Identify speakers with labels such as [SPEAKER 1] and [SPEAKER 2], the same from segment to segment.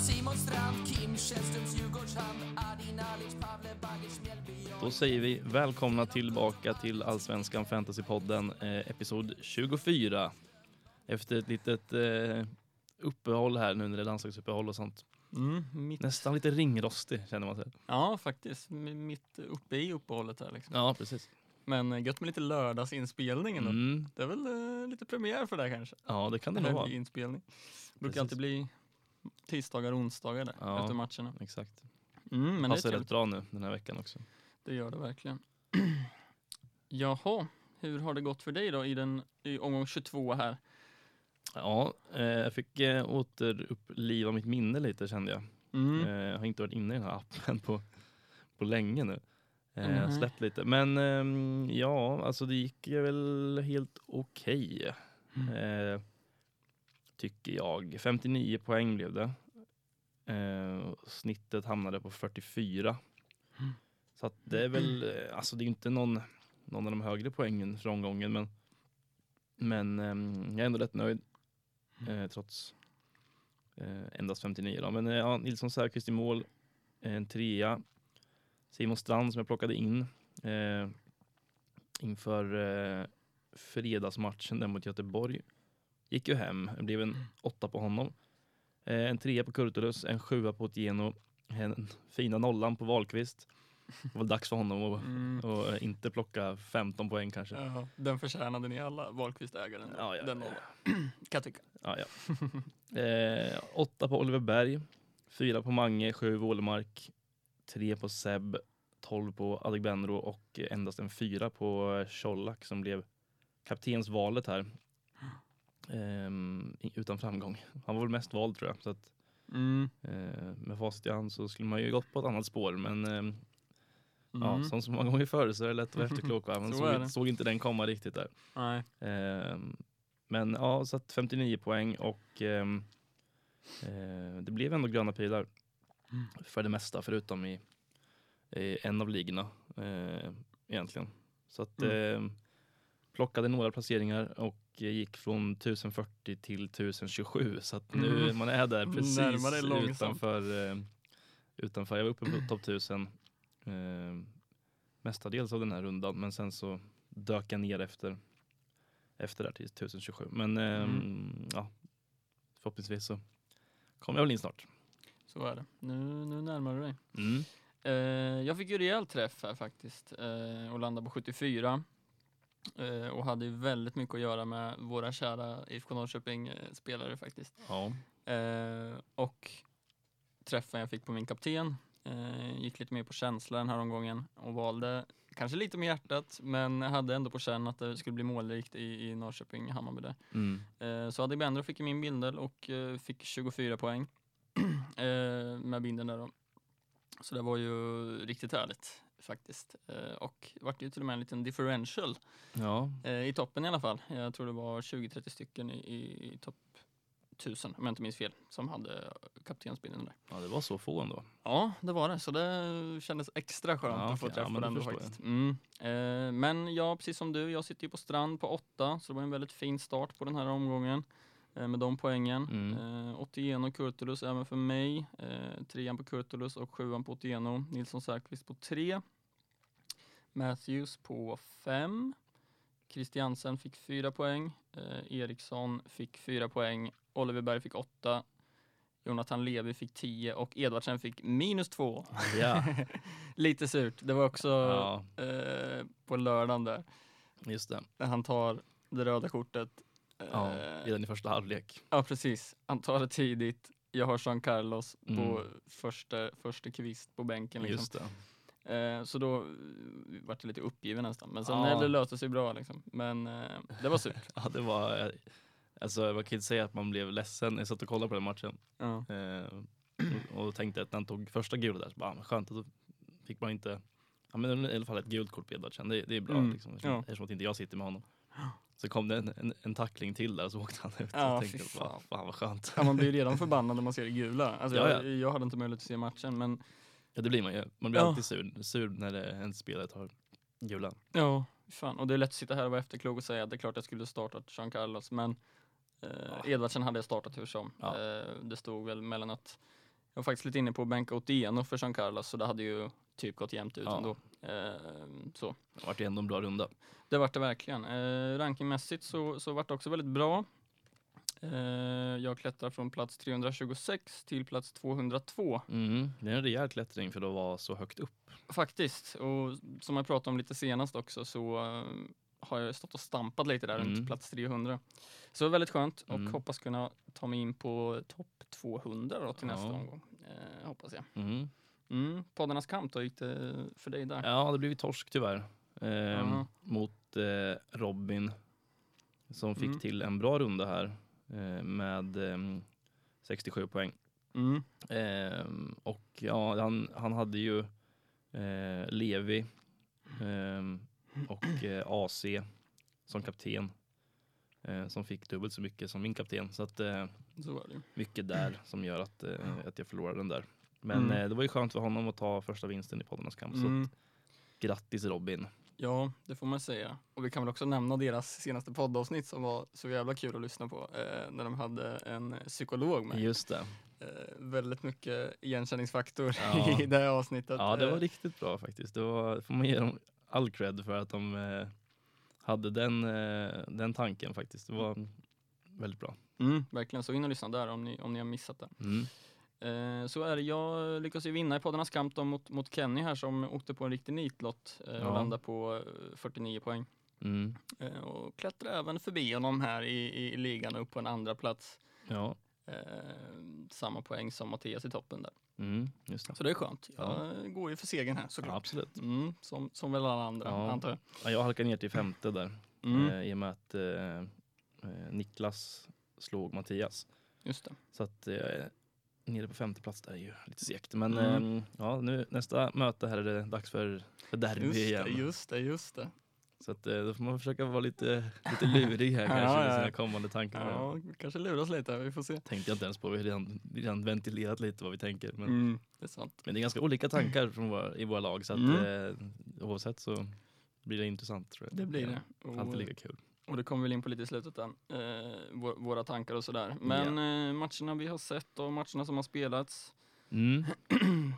[SPEAKER 1] Strand, Kim Källströms Djurgårdshamn, Adin Alic, Pavle Bagic, Mjällby,
[SPEAKER 2] Då säger vi välkomna tillbaka till Allsvenskan Fantasypodden, eh, episod 24. Efter ett litet eh, uppehåll här nu när det är landslagsuppehåll och sånt.
[SPEAKER 3] Mm, mitt,
[SPEAKER 2] Nästan lite ringrostig känner man sig.
[SPEAKER 3] ja, faktiskt. M- Mitt uppe i uppehållet här liksom.
[SPEAKER 2] Ja, precis.
[SPEAKER 3] Men eh, gött med lite lördagsinspelning ändå.
[SPEAKER 2] Mm.
[SPEAKER 3] Det är väl eh, lite premiär för det här kanske.
[SPEAKER 2] Ja, det kan det
[SPEAKER 3] Det
[SPEAKER 2] nog
[SPEAKER 3] här
[SPEAKER 2] vara.
[SPEAKER 3] blir inspelning.
[SPEAKER 2] Precis.
[SPEAKER 3] brukar alltid bli tisdagar och onsdagar där
[SPEAKER 2] Ja.
[SPEAKER 3] efter matcherna.
[SPEAKER 2] Exakt.
[SPEAKER 3] Mm, men det är
[SPEAKER 2] Passar
[SPEAKER 3] trevligt.
[SPEAKER 2] rätt bra nu den här veckan också.
[SPEAKER 3] Det gör det verkligen. Jaha, hur har det gått för dig då i, den, i omgång 22 här?
[SPEAKER 2] Ja, eh, jag fick eh, återuppliva mitt minne lite kände jag.
[SPEAKER 3] Mm.
[SPEAKER 2] Eh, Jag har inte varit inne i den här appen på, på länge nu. Eh, Jag har
[SPEAKER 3] Mhm.
[SPEAKER 2] släppt lite. Men ehm, ja, alltså det gick ju väl helt okej. Eh, tycker jag. 59 poäng blev det. Eh, och snittet hamnade på 44.
[SPEAKER 3] Mm.
[SPEAKER 2] Så att det är väl, eh, alltså det är ju inte någon, någon av de högre poängen från omgången men, men ehm, jag är ändå rätt nöjd eh, trots eh, endast 59 då. Men eh, ja, Nilsson Säfqvist i mål, eh, en trea. Simon Strand som jag plockade in eh, inför eh, fredagsmatchen där mot Göteborg. Gick ju hem, det blev en åtta på honom. Eh, en trea på Kurtulus, en sjua på Otieno, en fina nollan på Wahlqvist. Det var dags för honom att
[SPEAKER 3] Mm.
[SPEAKER 2] och eh, inte plocka 15 poäng kanske.
[SPEAKER 3] Ja, den förtjänade ni alla, Wahlqvist-ägaren.
[SPEAKER 2] Ja, ja,
[SPEAKER 3] den
[SPEAKER 2] ja.
[SPEAKER 3] nollan. kan jag tycka.
[SPEAKER 2] Ja, ja. Eh, åtta på Oliver Berg, fyra på Mange, sju Wålemark, tre på Seb, tolv på Adegbenro och endast en fyra på eh, Colak som blev kaptensvalet här. Ehm, i- utan framgång. Han var väl mest vald tror jag. Så att,
[SPEAKER 3] Mm.
[SPEAKER 2] eh, med facit i hand så skulle man ju gått på ett annat spår. Men ehm, ja,
[SPEAKER 3] Mm.
[SPEAKER 2] som så många gånger förr så är det lätt att vara efterklok. va? Man
[SPEAKER 3] Så är
[SPEAKER 2] såg,
[SPEAKER 3] det.
[SPEAKER 2] såg inte den komma riktigt där.
[SPEAKER 3] Nej.
[SPEAKER 2] Ehm, men ja, så att 59 poäng och ehm, eh, det blev ändå gröna pilar
[SPEAKER 3] Mm.
[SPEAKER 2] för det mesta, förutom i, i en av ligorna eh, egentligen. Så att
[SPEAKER 3] Mm.
[SPEAKER 2] eh, plockade några placeringar och eh, gick från 1040 till 1027 så att nu
[SPEAKER 3] Mm.
[SPEAKER 2] man är där
[SPEAKER 3] Närmare
[SPEAKER 2] precis
[SPEAKER 3] långsamt.
[SPEAKER 2] utanför, eh, utanför. Jag var uppe på topp 1000 eh, mestadels av den här rundan men sen så dök jag ner efter, efter där till 1027. Men eh, ja, förhoppningsvis så kommer jag väl in snart.
[SPEAKER 3] Så är det. Nu, nu närmar du dig.
[SPEAKER 2] Mm.
[SPEAKER 3] Eh, jag fick ju rejäl träff här faktiskt eh, och landade på 74. Eh, och hade ju väldigt mycket att göra med våra kära IFK Norrköping-spelare eh, faktiskt.
[SPEAKER 2] Ja.
[SPEAKER 3] Eh, och träffen jag fick på min kapten eh, gick lite mer på känsla den här omgången och valde kanske lite med hjärtat men hade ändå på känn att det skulle bli målrikt i, i Norrköping-Hammarby där.
[SPEAKER 2] Mm.
[SPEAKER 3] Eh, Så Adegbenro fick ju min bindel och eh, fick 24 poäng eh, med bindeln där då. Så det var ju riktigt härligt faktiskt. Eh, Och det vart ju till och med en liten differential
[SPEAKER 2] ja.
[SPEAKER 3] eh, i toppen i alla fall. Jag tror det var 20-30 stycken i, i, i topp 1000 om jag inte minns fel som hade kaptensbindeln där.
[SPEAKER 2] Ja, det var så få ändå.
[SPEAKER 3] Ja, det var det. Så det kändes extra skönt
[SPEAKER 2] Ja,
[SPEAKER 3] att få
[SPEAKER 2] okej. Ja,
[SPEAKER 3] träff
[SPEAKER 2] men
[SPEAKER 3] på
[SPEAKER 2] det
[SPEAKER 3] den då
[SPEAKER 2] förstår jag.
[SPEAKER 3] faktiskt. Mm. Eh, men ja, precis som du, jag sitter ju på strand på åtta, så det var en väldigt fin start på den här omgången eh, med de poängen.
[SPEAKER 2] Mm.
[SPEAKER 3] Eh, Otieno Kurtulus även för mig. Eh, trean på Kurtulus och sjuan på Otieno. Nilsson Säfqvist på tre. Matthews på fem. Christiansen fick fyra poäng. Eh, Eriksson fick fyra poäng. Oliver Berg fick åtta. Jonathan Levi fick 10 och Edvardsen fick minus 2.
[SPEAKER 2] Ja,
[SPEAKER 3] Lite surt. Det var också
[SPEAKER 2] ja
[SPEAKER 3] eh, på lördagen där.
[SPEAKER 2] just det.
[SPEAKER 3] När han tar det röda kortet. Eh,
[SPEAKER 2] Ja, redan i första halvlek.
[SPEAKER 3] ja, precis. Han tar det tidigt. Jag har Jean Carlos på
[SPEAKER 2] Mm.
[SPEAKER 3] första, första kvist på bänken. Liksom.
[SPEAKER 2] Just det.
[SPEAKER 3] Eh, så då eh, vart jag lite uppgiven nästan. Men sen
[SPEAKER 2] Ja.
[SPEAKER 3] ja. det löste sig bra liksom. Men eh, det var surt.
[SPEAKER 2] Ja, det var, eh, alltså, man kan inte säga att man blev ledsen. Jag satt och kollade på den matchen
[SPEAKER 3] ja.
[SPEAKER 2] eh, och, och tänkte att när han tog första gula där, så bara, "Ah, men skönt att då fick man inte, ja, men i alla fall ett gult kort på Edvardsen. Det, det är bra
[SPEAKER 3] Mm,
[SPEAKER 2] liksom, eftersom,
[SPEAKER 3] ja.
[SPEAKER 2] eftersom att inte jag sitter med honom. Så kom det en, en, en tackling till där och så åkte han ut.
[SPEAKER 3] Ja,
[SPEAKER 2] jag
[SPEAKER 3] fy
[SPEAKER 2] tänkte, fan.
[SPEAKER 3] fan.
[SPEAKER 2] fan vad skönt.
[SPEAKER 3] Ja, man blir ju redan förbannad när man ser det gula. Alltså,
[SPEAKER 2] Ja,
[SPEAKER 3] Jag, jag hade inte möjlighet att se matchen men
[SPEAKER 2] Ja, det blir man ju. Man blir
[SPEAKER 3] Ja.
[SPEAKER 2] alltid sur, sur när det, en spelare tar gula.
[SPEAKER 3] Ja, fan. Och det är lätt att sitta här och vara efterklok och säga att det är klart jag skulle startat Jean Carlos, men eh, Edvardsen hade jag startat hur som.
[SPEAKER 2] Ja.
[SPEAKER 3] Eh, det stod väl mellan att Jag var faktiskt lite inne på att bänka Otieno för Jean Carlos så det hade ju typ gått jämnt ut
[SPEAKER 2] Ja.
[SPEAKER 3] ändå. Ehm, så.
[SPEAKER 2] Det vart ju ändå en bra runda.
[SPEAKER 3] Det vart det verkligen. Eh, rankingmässigt så, så vart det också väldigt bra. Eh, jag klättrar från plats 326 till plats 202
[SPEAKER 2] Mm. Det är en rejäl klättring för att vara så högt upp.
[SPEAKER 3] faktiskt. Och som jag pratade om lite senast också så eh, har jag stått och stampat lite där
[SPEAKER 2] Mm.
[SPEAKER 3] runt plats 300. Så det var väldigt skönt och
[SPEAKER 2] Mm.
[SPEAKER 3] hoppas kunna ta mig in på topp 200 då till nästa
[SPEAKER 2] Ja.
[SPEAKER 3] omgång. Eh, hoppas jag.
[SPEAKER 2] Mm.
[SPEAKER 3] Mm. Poddarnas kamp då, gick det för dig där?
[SPEAKER 2] Ja, det blev ju torsk tyvärr. Ehm,
[SPEAKER 3] Ja.
[SPEAKER 2] Mot eh, Robin som fick
[SPEAKER 3] Mm.
[SPEAKER 2] till en bra runda här eh, med ehm, 67 poäng.
[SPEAKER 3] Mm.
[SPEAKER 2] Ehm, och ja, han, han hade ju eh, Levi ehm, och eh, AC som kapten. Eh, som fick dubbelt så mycket som min kapten. Så att, eh,
[SPEAKER 3] Så var det ju.
[SPEAKER 2] mycket där som gör att, eh, att jag förlorade den där. Men
[SPEAKER 3] Mm.
[SPEAKER 2] eh, det var ju skönt för honom att ta första vinsten i poddarnas kamp. Så
[SPEAKER 3] Mm.
[SPEAKER 2] grattis Robin.
[SPEAKER 3] Ja, det får man säga. Och vi kan väl också nämna deras senaste poddavsnitt som var så jävla kul att lyssna på. Eh, när de hade en psykolog med.
[SPEAKER 2] Just det.
[SPEAKER 3] Eh, väldigt mycket igenkänningsfaktor
[SPEAKER 2] Ja.
[SPEAKER 3] i det här avsnittet.
[SPEAKER 2] Ja, det
[SPEAKER 3] Eh,
[SPEAKER 2] var riktigt bra faktiskt. Det var, får man ge dem all cred för att de eh, hade den, eh, den tanken faktiskt. Det var väldigt bra.
[SPEAKER 3] mm, verkligen, så in och lyssna där om ni, om ni har missat det.
[SPEAKER 2] Mm.
[SPEAKER 3] Eh, så är det, jag lyckas ju vinna i poddarnas kamp då mot, mot Kenny här som åkte på en riktig nitlott eh, och
[SPEAKER 2] Ja.
[SPEAKER 3] landade på eh, 49 poäng.
[SPEAKER 2] Mm.
[SPEAKER 3] Eh, och klättrade även förbi honom här i, i, i ligan och upp på en andra plats.
[SPEAKER 2] Ja,
[SPEAKER 3] Eh, samma poäng som Mattias i toppen där.
[SPEAKER 2] mm. just det.
[SPEAKER 3] Så det är skönt. Jag
[SPEAKER 2] Ja.
[SPEAKER 3] eh, går ju för segern här
[SPEAKER 2] Ja,
[SPEAKER 3] såklart.
[SPEAKER 2] absolut.
[SPEAKER 3] Mm, som, som väl alla andra
[SPEAKER 2] Ja.
[SPEAKER 3] antar jag.
[SPEAKER 2] Ja, jag halkade ner till femte där
[SPEAKER 3] Mm,
[SPEAKER 2] eh, i och med att eh, eh, Niklas slog Mattias.
[SPEAKER 3] just det.
[SPEAKER 2] Så att eh, nere på femte plats där är ju lite segt. Men
[SPEAKER 3] Mm.
[SPEAKER 2] ehm, ja, nu, nästa möte här är det dags för, för derby
[SPEAKER 3] Just det,
[SPEAKER 2] igen.
[SPEAKER 3] just det, just det.
[SPEAKER 2] Så att, eh, då får man försöka vara lite, lite lurig här
[SPEAKER 3] Ja,
[SPEAKER 2] kanske med
[SPEAKER 3] ja,
[SPEAKER 2] sina
[SPEAKER 3] ja.
[SPEAKER 2] kommande tankar.
[SPEAKER 3] Ja, kanske luras lite, vi får se.
[SPEAKER 2] Tänkte jag inte ens på, vi har redan, redan ventilerat lite vad vi tänker. Men,
[SPEAKER 3] Mm, det är sant.
[SPEAKER 2] men det är ganska olika tankar från våra, i våra lag så att,
[SPEAKER 3] Mm.
[SPEAKER 2] eh, oavsett så blir det intressant tror jag.
[SPEAKER 3] Det blir
[SPEAKER 2] Ja,
[SPEAKER 3] det. Oh.
[SPEAKER 2] Alltid
[SPEAKER 3] Och,
[SPEAKER 2] lika kul.
[SPEAKER 3] och det kommer väl in på lite i slutet där. Eh, vå- våra tankar och sådär. Men eh, matcherna vi har sett och matcherna som har spelats.
[SPEAKER 2] Mm.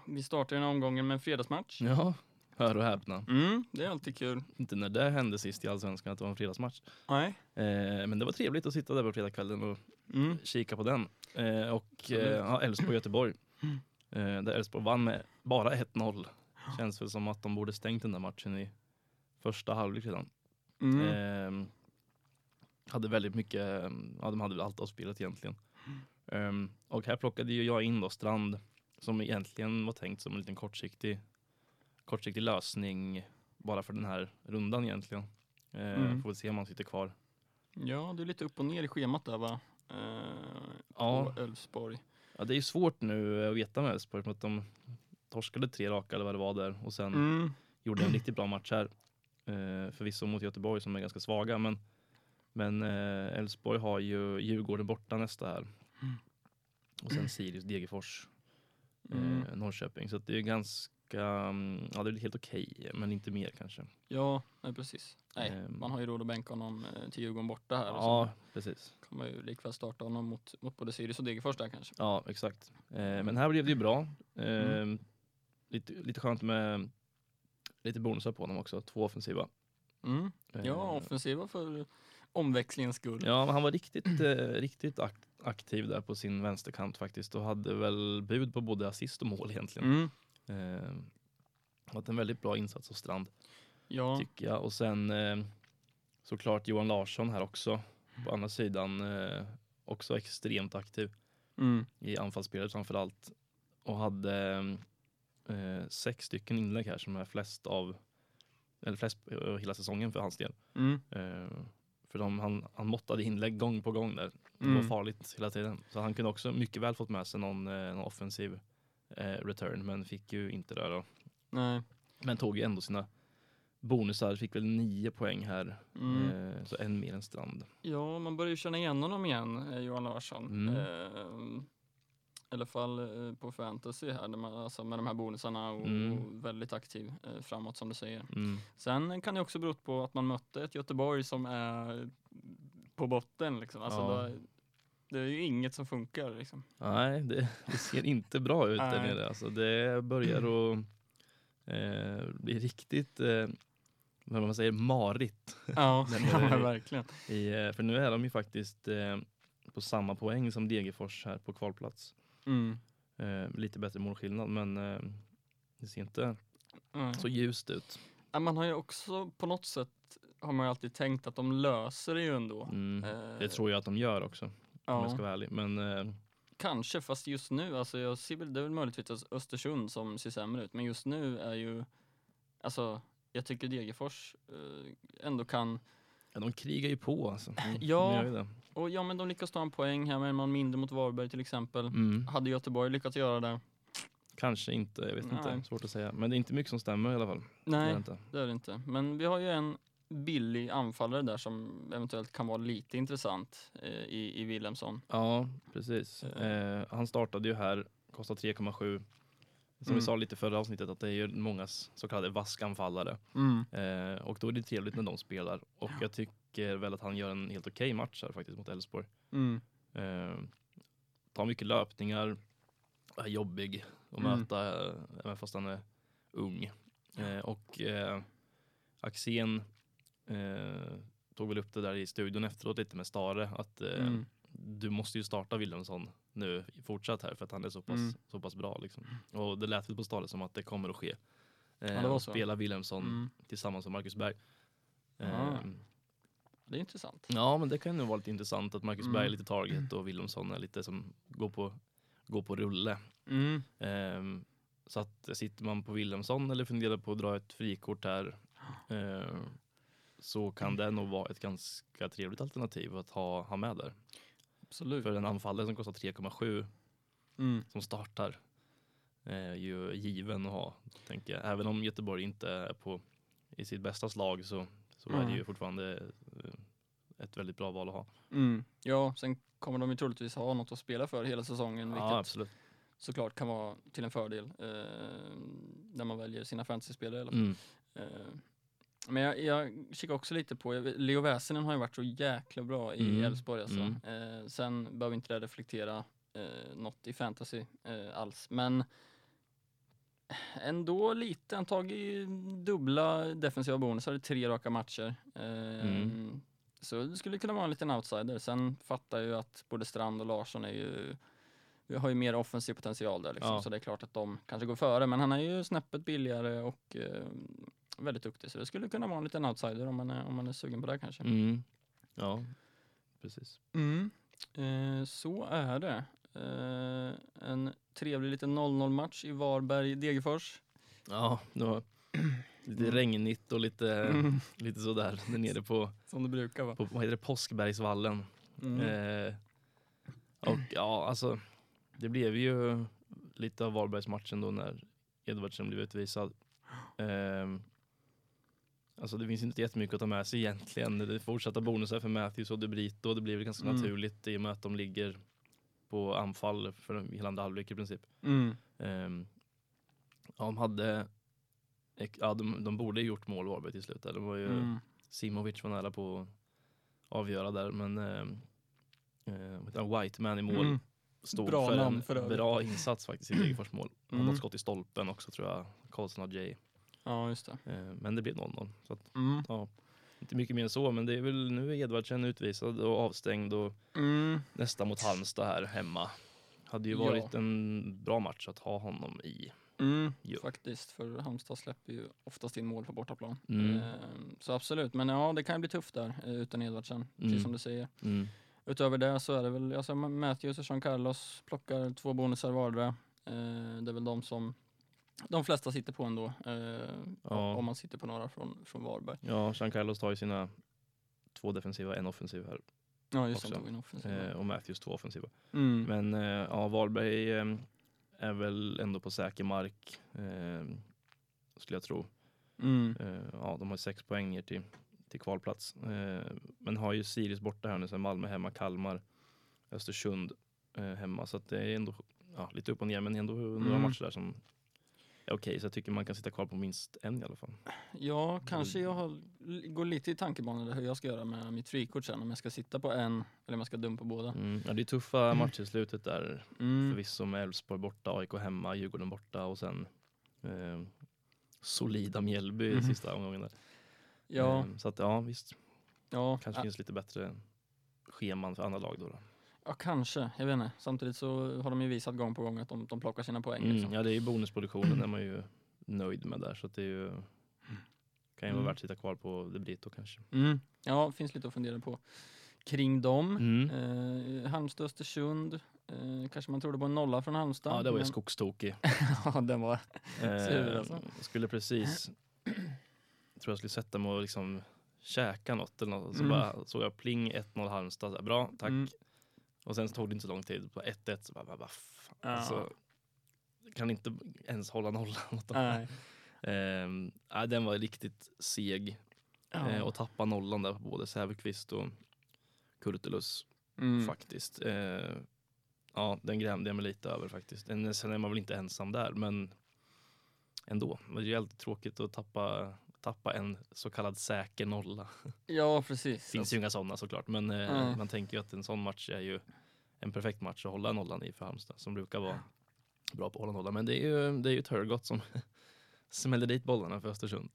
[SPEAKER 3] Vi startar den här omgången med en fredagsmatch.
[SPEAKER 2] Ja, hör och häpna.
[SPEAKER 3] Mm, det är alltid kul.
[SPEAKER 2] Inte när det hände sist i Allsvenskan att det var en fredagsmatch.
[SPEAKER 3] Nej.
[SPEAKER 2] Eh, men det var trevligt att sitta där på fredagskvällen och
[SPEAKER 3] Mm,
[SPEAKER 2] kika på den. Eh, och eh,
[SPEAKER 3] Absolut.
[SPEAKER 2] ja, Elfsborg och Göteborg. Eh, där Elfsborg vann med bara 1-0. Känns väl som att de borde stängt den där matchen i första halvlek redan.
[SPEAKER 3] mm,
[SPEAKER 2] Eh, hade väldigt mycket, eh, ja de hade väl allt avspelat egentligen.
[SPEAKER 3] Mm.
[SPEAKER 2] Eh, och här plockade ju jag in då Strand som egentligen var tänkt som en liten kortsiktig, kortsiktig lösning bara för den här rundan egentligen. Eh,
[SPEAKER 3] Mm.
[SPEAKER 2] Får väl se om han sitter kvar.
[SPEAKER 3] Ja, du är lite upp och ner i schemat där va? Eh,
[SPEAKER 2] Ja.
[SPEAKER 3] På Elfsborg.
[SPEAKER 2] Ja, det är ju svårt nu eh, att veta med Elfsborg för att de torskade tre raka eller vad det var där och sen
[SPEAKER 3] Mm,
[SPEAKER 2] gjorde en riktigt bra match här. Eh, förvisso mot Göteborg som är ganska svaga men men eh, Elfsborg har ju Djurgården borta nästa här. Och sen Sirius, Degerfors,
[SPEAKER 3] mm.
[SPEAKER 2] eh, Norrköping. Så att det är ganska, mm, ja det är helt okej men inte mer kanske.
[SPEAKER 3] Ja, nej, precis. Nej,
[SPEAKER 2] Ehm.
[SPEAKER 3] man har ju råd att bänka honom eh, till Djurgården borta här. och
[SPEAKER 2] Ja, precis.
[SPEAKER 3] Så kan man ju likväl starta honom mot, mot både Sirius och Degerfors där kanske.
[SPEAKER 2] Ja, exakt. Eh, men här blev det ju bra. Eh,
[SPEAKER 3] Mm.
[SPEAKER 2] lite, lite skönt med lite bonusar på honom också, två offensiva.
[SPEAKER 3] Mm.
[SPEAKER 2] Eh,
[SPEAKER 3] Ja, offensiva för omväxlingens skull.
[SPEAKER 2] Ja, men han var riktigt, eh, riktigt ak- aktiv där på sin vänsterkant faktiskt och hade väl bud på både assist och mål egentligen.
[SPEAKER 3] Mm.
[SPEAKER 2] Eh, haft en väldigt bra insats av Strand
[SPEAKER 3] Ja,
[SPEAKER 2] tycker jag. Och sen eh, såklart Johan Larsson här också på andra sidan eh, också extremt aktiv
[SPEAKER 3] mm.
[SPEAKER 2] i anfallsspelet framför allt och hade eh, sex stycken inlägg här som är flest av eller flest eh, hela säsongen för hans del.
[SPEAKER 3] Mm.
[SPEAKER 2] Eh, för de, han, han måttade inlägg gång på gång där. Det var
[SPEAKER 3] Mm.
[SPEAKER 2] farligt hela tiden. Så han kunde också mycket väl fått med sig någon, eh, någon offensiv eh, return, men fick ju inte det då.
[SPEAKER 3] Nej.
[SPEAKER 2] Men tog ju ändå sina bonusar, fick väl nio poäng här.
[SPEAKER 3] Mm.
[SPEAKER 2] Eh, så en mer än Strand.
[SPEAKER 3] Ja, man börjar ju känna igen honom igen, eh, Johan Larsson.
[SPEAKER 2] Mm.
[SPEAKER 3] Ehm, I alla fall eh, på fantasy här, där man, alltså med de här bonusarna och,
[SPEAKER 2] Mm.
[SPEAKER 3] och väldigt aktiv eh, framåt som du säger.
[SPEAKER 2] Mm.
[SPEAKER 3] Sen kan det också bero på att man mötte ett Göteborg som är på botten. Liksom. Alltså
[SPEAKER 2] Ja.
[SPEAKER 3] då, Det är ju inget som funkar liksom.
[SPEAKER 2] Nej, det, det ser inte bra ut där
[SPEAKER 3] Nej.
[SPEAKER 2] nere. Alltså, det börjar att eh, bli riktigt, eh, vad man säger, marigt.
[SPEAKER 3] Ja,
[SPEAKER 2] Den
[SPEAKER 3] ja
[SPEAKER 2] är-
[SPEAKER 3] men verkligen.
[SPEAKER 2] I, eh, för nu är de ju faktiskt eh, på samma poäng som Degerfors här på kvalplats.
[SPEAKER 3] Mm.
[SPEAKER 2] Eh, lite bättre målskillnad, men eh, det ser inte
[SPEAKER 3] Mm.
[SPEAKER 2] så ljust ut.
[SPEAKER 3] Ja, Man har ju också på något sätt har man ju alltid tänkt att de löser det ju ändå.
[SPEAKER 2] Mm.
[SPEAKER 3] Eh,
[SPEAKER 2] Det tror jag att de gör också, om jag ska
[SPEAKER 3] ja,
[SPEAKER 2] vara ärlig. Men eh,
[SPEAKER 3] kanske, fast just nu, alltså jag ser väl, det är väl möjligtvis Östersund som ser sämre ut, men just nu är ju, alltså jag tycker Degerfors eh, ändå kan,
[SPEAKER 2] ja, de krigar ju på alltså. Mm,
[SPEAKER 3] Ja.
[SPEAKER 2] de gör ju det.
[SPEAKER 3] och ja men de lyckas ta en poäng här med en man mindre mot Varberg till exempel.
[SPEAKER 2] Mm.
[SPEAKER 3] Hade Göteborg lyckats göra det?
[SPEAKER 2] Kanske inte, jag vet
[SPEAKER 3] Nej.
[SPEAKER 2] inte. Svårt att säga. Men det är inte mycket som stämmer i alla fall. Det är
[SPEAKER 3] Nej,
[SPEAKER 2] det inte.
[SPEAKER 3] det är det inte. Men vi har ju en billig anfallare där som eventuellt kan vara lite intressant eh, i, i Wilhelmsson.
[SPEAKER 2] Ja, precis. Eh, han startade ju här, kostar 3,7. Som
[SPEAKER 3] Mm.
[SPEAKER 2] vi sa lite i förra avsnittet att det är ju många så kallade vaskanfallare.
[SPEAKER 3] Mm,
[SPEAKER 2] Eh, och då är det trevligt när de spelar. Och jag tycker väl att han gör en helt okej match här faktiskt mot Elfsborg.
[SPEAKER 3] Mm.
[SPEAKER 2] Eh, tar mycket löpningar, är jobbig att
[SPEAKER 3] Mm.
[SPEAKER 2] möta, eh, även fast han är ung. Eh, och eh, Axén eh, tog väl upp det där i studion efteråt lite med Stare, att eh,
[SPEAKER 3] Mm.
[SPEAKER 2] du måste ju starta Wilhelmsson nu fortsatt här för att han är så pass,
[SPEAKER 3] Mm.
[SPEAKER 2] så pass bra. Liksom. Och det lät väl på Stare som att det kommer att ske. Eh,
[SPEAKER 3] Ja, det var
[SPEAKER 2] och
[SPEAKER 3] så.
[SPEAKER 2] Spela Wilhelmsson
[SPEAKER 3] Mm.
[SPEAKER 2] tillsammans med Marcus Berg. Eh,
[SPEAKER 3] Ah. Det är intressant.
[SPEAKER 2] Ja, men det kan ju nog vara lite intressant att Marcus
[SPEAKER 3] Mm.
[SPEAKER 2] Berg är lite target och Wilhelmsson är lite som går på, går på rulle.
[SPEAKER 3] Mm.
[SPEAKER 2] Ehm, så att sitter man på Wilhelmsson eller funderar på att dra ett frikort här ehm, så
[SPEAKER 3] Mm.
[SPEAKER 2] kan det nog vara ett ganska trevligt alternativ att ha, ha med där.
[SPEAKER 3] Absolut.
[SPEAKER 2] För en anfallare som kostar 3,7
[SPEAKER 3] Mm.
[SPEAKER 2] som startar är ju given att ha, tänker jag. Även om Göteborg inte är på, i sitt bästa slag så, så är det
[SPEAKER 3] Mm.
[SPEAKER 2] ju fortfarande eh, ett väldigt bra val att ha.
[SPEAKER 3] Mm. Ja, sen kommer de ju troligtvis ha något att spela för hela säsongen, Mm, vilket
[SPEAKER 2] Ja, absolut.
[SPEAKER 3] såklart kan vara till en fördel eh, när man väljer sina fantasyspelare. i alla fall.
[SPEAKER 2] Mm.
[SPEAKER 3] Eh, men jag, jag kikar också lite på, jag vet- Leo Väsenen har ju varit så jäkla bra i
[SPEAKER 2] Mm.
[SPEAKER 3] Elfsborg alltså. Eh, sen behöver inte det reflektera eh, något i fantasy eh, alls, men ändå lite. Han tagit ju dubbla defensiva bonusar i tre raka matcher. Eh,
[SPEAKER 2] Mm.
[SPEAKER 3] Så det skulle kunna vara en liten outsider. Sen fattar jag ju att både Strand och Larsson är ju vi har ju mer offensiv potential där liksom,
[SPEAKER 2] Ja.
[SPEAKER 3] så det är klart att de kanske går före. Men han är ju snäppet billigare och eh, väldigt duktig, så det skulle kunna vara en liten outsider om man är, om man är sugen på det kanske.
[SPEAKER 2] Mm. Ja, precis.
[SPEAKER 3] Mm. Eh, så är det. Eh, en trevlig liten 0-0 match i Varberg-Degerfors.
[SPEAKER 2] Ja, det var lite
[SPEAKER 3] Mm.
[SPEAKER 2] regnigt och lite, lite sådär där nere på,
[SPEAKER 3] Som det brukar vara.
[SPEAKER 2] på vad heter det, Påskbergsvallen.
[SPEAKER 3] Mm.
[SPEAKER 2] Eh, och ja, alltså det blev ju lite av Varbergsmatchen då när Edvardsen blev utvisad. Eh, alltså det finns inte jättemycket att ta med sig egentligen. Det är fortsatta bonusar för Matthews och De Brito. Det blir väl ganska
[SPEAKER 3] Mm.
[SPEAKER 2] naturligt i och med att de ligger på anfall för hela andra halvlek i princip.
[SPEAKER 3] Mm.
[SPEAKER 2] Ehm, ja, de hade... ek- Ja, de, de borde ju gjort mål Varberg till slut. där. Det var ju
[SPEAKER 3] Mm.
[SPEAKER 2] Simovic var nära på att avgöra där, men ehm, eh, vad heter han? White man i mål
[SPEAKER 3] Mm.
[SPEAKER 2] stod
[SPEAKER 3] Bra
[SPEAKER 2] för
[SPEAKER 3] namn
[SPEAKER 2] en
[SPEAKER 3] för övrigt.
[SPEAKER 2] bra insats faktiskt i Degerfors mål. Han
[SPEAKER 3] Mm.
[SPEAKER 2] har skott i stolpen också tror jag, Karlsson och Jay.
[SPEAKER 3] Ja, just det.
[SPEAKER 2] Eh, men det blev 0-0. Så att,
[SPEAKER 3] Mm.
[SPEAKER 2] inte mycket mer än så, men det är väl nu är Edvardsen utvisad och avstängd och
[SPEAKER 3] Mm.
[SPEAKER 2] nästa mot Halmstad här hemma. Hade ju
[SPEAKER 3] Ja.
[SPEAKER 2] varit en bra match att ha honom i.
[SPEAKER 3] Mm,
[SPEAKER 2] Jo.
[SPEAKER 3] faktiskt, för Halmstad släpper ju oftast in mål på bortaplan.
[SPEAKER 2] Mm.
[SPEAKER 3] Ehm, Så absolut, men ja det kan ju bli tufft där eh, utan Edvardsen, precis
[SPEAKER 2] Mm.
[SPEAKER 3] som du säger.
[SPEAKER 2] Mm.
[SPEAKER 3] Utöver det så är det väl, alltså Matthews och Jean Carlos plockar två bonusar vardera. Ehm, Det är väl de som de flesta sitter på ändå, ehm,
[SPEAKER 2] Ja.
[SPEAKER 3] om man sitter på några från, från Varberg.
[SPEAKER 2] Ja, Jean Carlos tar ju sina två defensiva och en offensiv här.
[SPEAKER 3] Ja just det,
[SPEAKER 2] Också.
[SPEAKER 3] de tog in offensiven.
[SPEAKER 2] Eh, och Matthews två offensiva.
[SPEAKER 3] Mm.
[SPEAKER 2] Men eh, ja, Varberg eh, är väl ändå på säker mark, eh, skulle jag tro.
[SPEAKER 3] Mm.
[SPEAKER 2] Eh, ja, de har sex poäng ner till, till kvalplats. Eh, men har ju Sirius borta här nu, sen Malmö hemma, Kalmar, Östersund eh, hemma. Så att det är ändå ja, lite upp och ner, men ändå några
[SPEAKER 3] Mm.
[SPEAKER 2] matcher där som Okej, så jag tycker man kan sitta kvar på minst en i alla fall.
[SPEAKER 3] Ja, kanske jag har, går lite i tankebanor där hur jag ska göra med mitt frikort sen. Om jag ska sitta på en eller om jag ska dumpa båda.
[SPEAKER 2] Mm. Ja, det är tuffa matcher i slutet där
[SPEAKER 3] Mm.
[SPEAKER 2] Förvisso med Elfsborg borta, AIK hemma, Djurgården borta och sen eh, solida Mjällby i
[SPEAKER 3] Mhm.
[SPEAKER 2] sista omgången. Där.
[SPEAKER 3] Ja,
[SPEAKER 2] Eh, så att ja, visst.
[SPEAKER 3] ja,
[SPEAKER 2] Kanske finns lite bättre scheman för andra lag då. då.
[SPEAKER 3] ja, kanske. Jag vet inte. Samtidigt så har de ju visat gång på gång att de, de plockar sina poäng.
[SPEAKER 2] Mm,
[SPEAKER 3] liksom.
[SPEAKER 2] ja, det är ju bonusproduktionen är man ju nöjd med där så att det är ju, kan ju
[SPEAKER 3] Mm.
[SPEAKER 2] vara värt att sitta kvar på det blir då kanske.
[SPEAKER 3] Mm. Ja, finns lite att fundera på kring dem.
[SPEAKER 2] Mm.
[SPEAKER 3] Eh, Halmstad, Östersund. Eh, kanske man trodde på en nolla från Halmstad.
[SPEAKER 2] Ja, det var ju
[SPEAKER 3] men-
[SPEAKER 2] skogstokig.
[SPEAKER 3] ja, den var... Sur,
[SPEAKER 2] Eh,
[SPEAKER 3] alltså.
[SPEAKER 2] skulle precis, tror jag skulle sätta mig och liksom käka något eller något. Så
[SPEAKER 3] Mm.
[SPEAKER 2] bara såg jag pling 1-0 Halmstad, så här, bra tack.
[SPEAKER 3] Mm.
[SPEAKER 2] Och sen så tog det inte så lång tid, på 1-1 så bara, bara, bara fan.
[SPEAKER 3] Ja.
[SPEAKER 2] Alltså, kan inte ens hålla nollan åt dem.
[SPEAKER 3] Nej.
[SPEAKER 2] Ehm, nej, den var riktigt seg.
[SPEAKER 3] Ja.
[SPEAKER 2] Eh, och tappa nollan där på både Säfveqvist och Kurtulus
[SPEAKER 3] Mm.
[SPEAKER 2] faktiskt. Eh, ja, den grämde jag mig lite över faktiskt. Den- Sen är man väl inte ensam där, men ändå. Men Det är ju alltid tråkigt att tappa, tappa en så kallad säker nolla.
[SPEAKER 3] Ja, precis. Alltså,
[SPEAKER 2] Det finns ju inga sådana såklart, men eh,
[SPEAKER 3] Nej.
[SPEAKER 2] man tänker ju att en sån match är ju en perfekt match att hålla nollan i för Halmstad, som brukar vara bra på att hålla nollan. Men det är ju, det är ju Turgott som smäller dit bollarna för Östersund.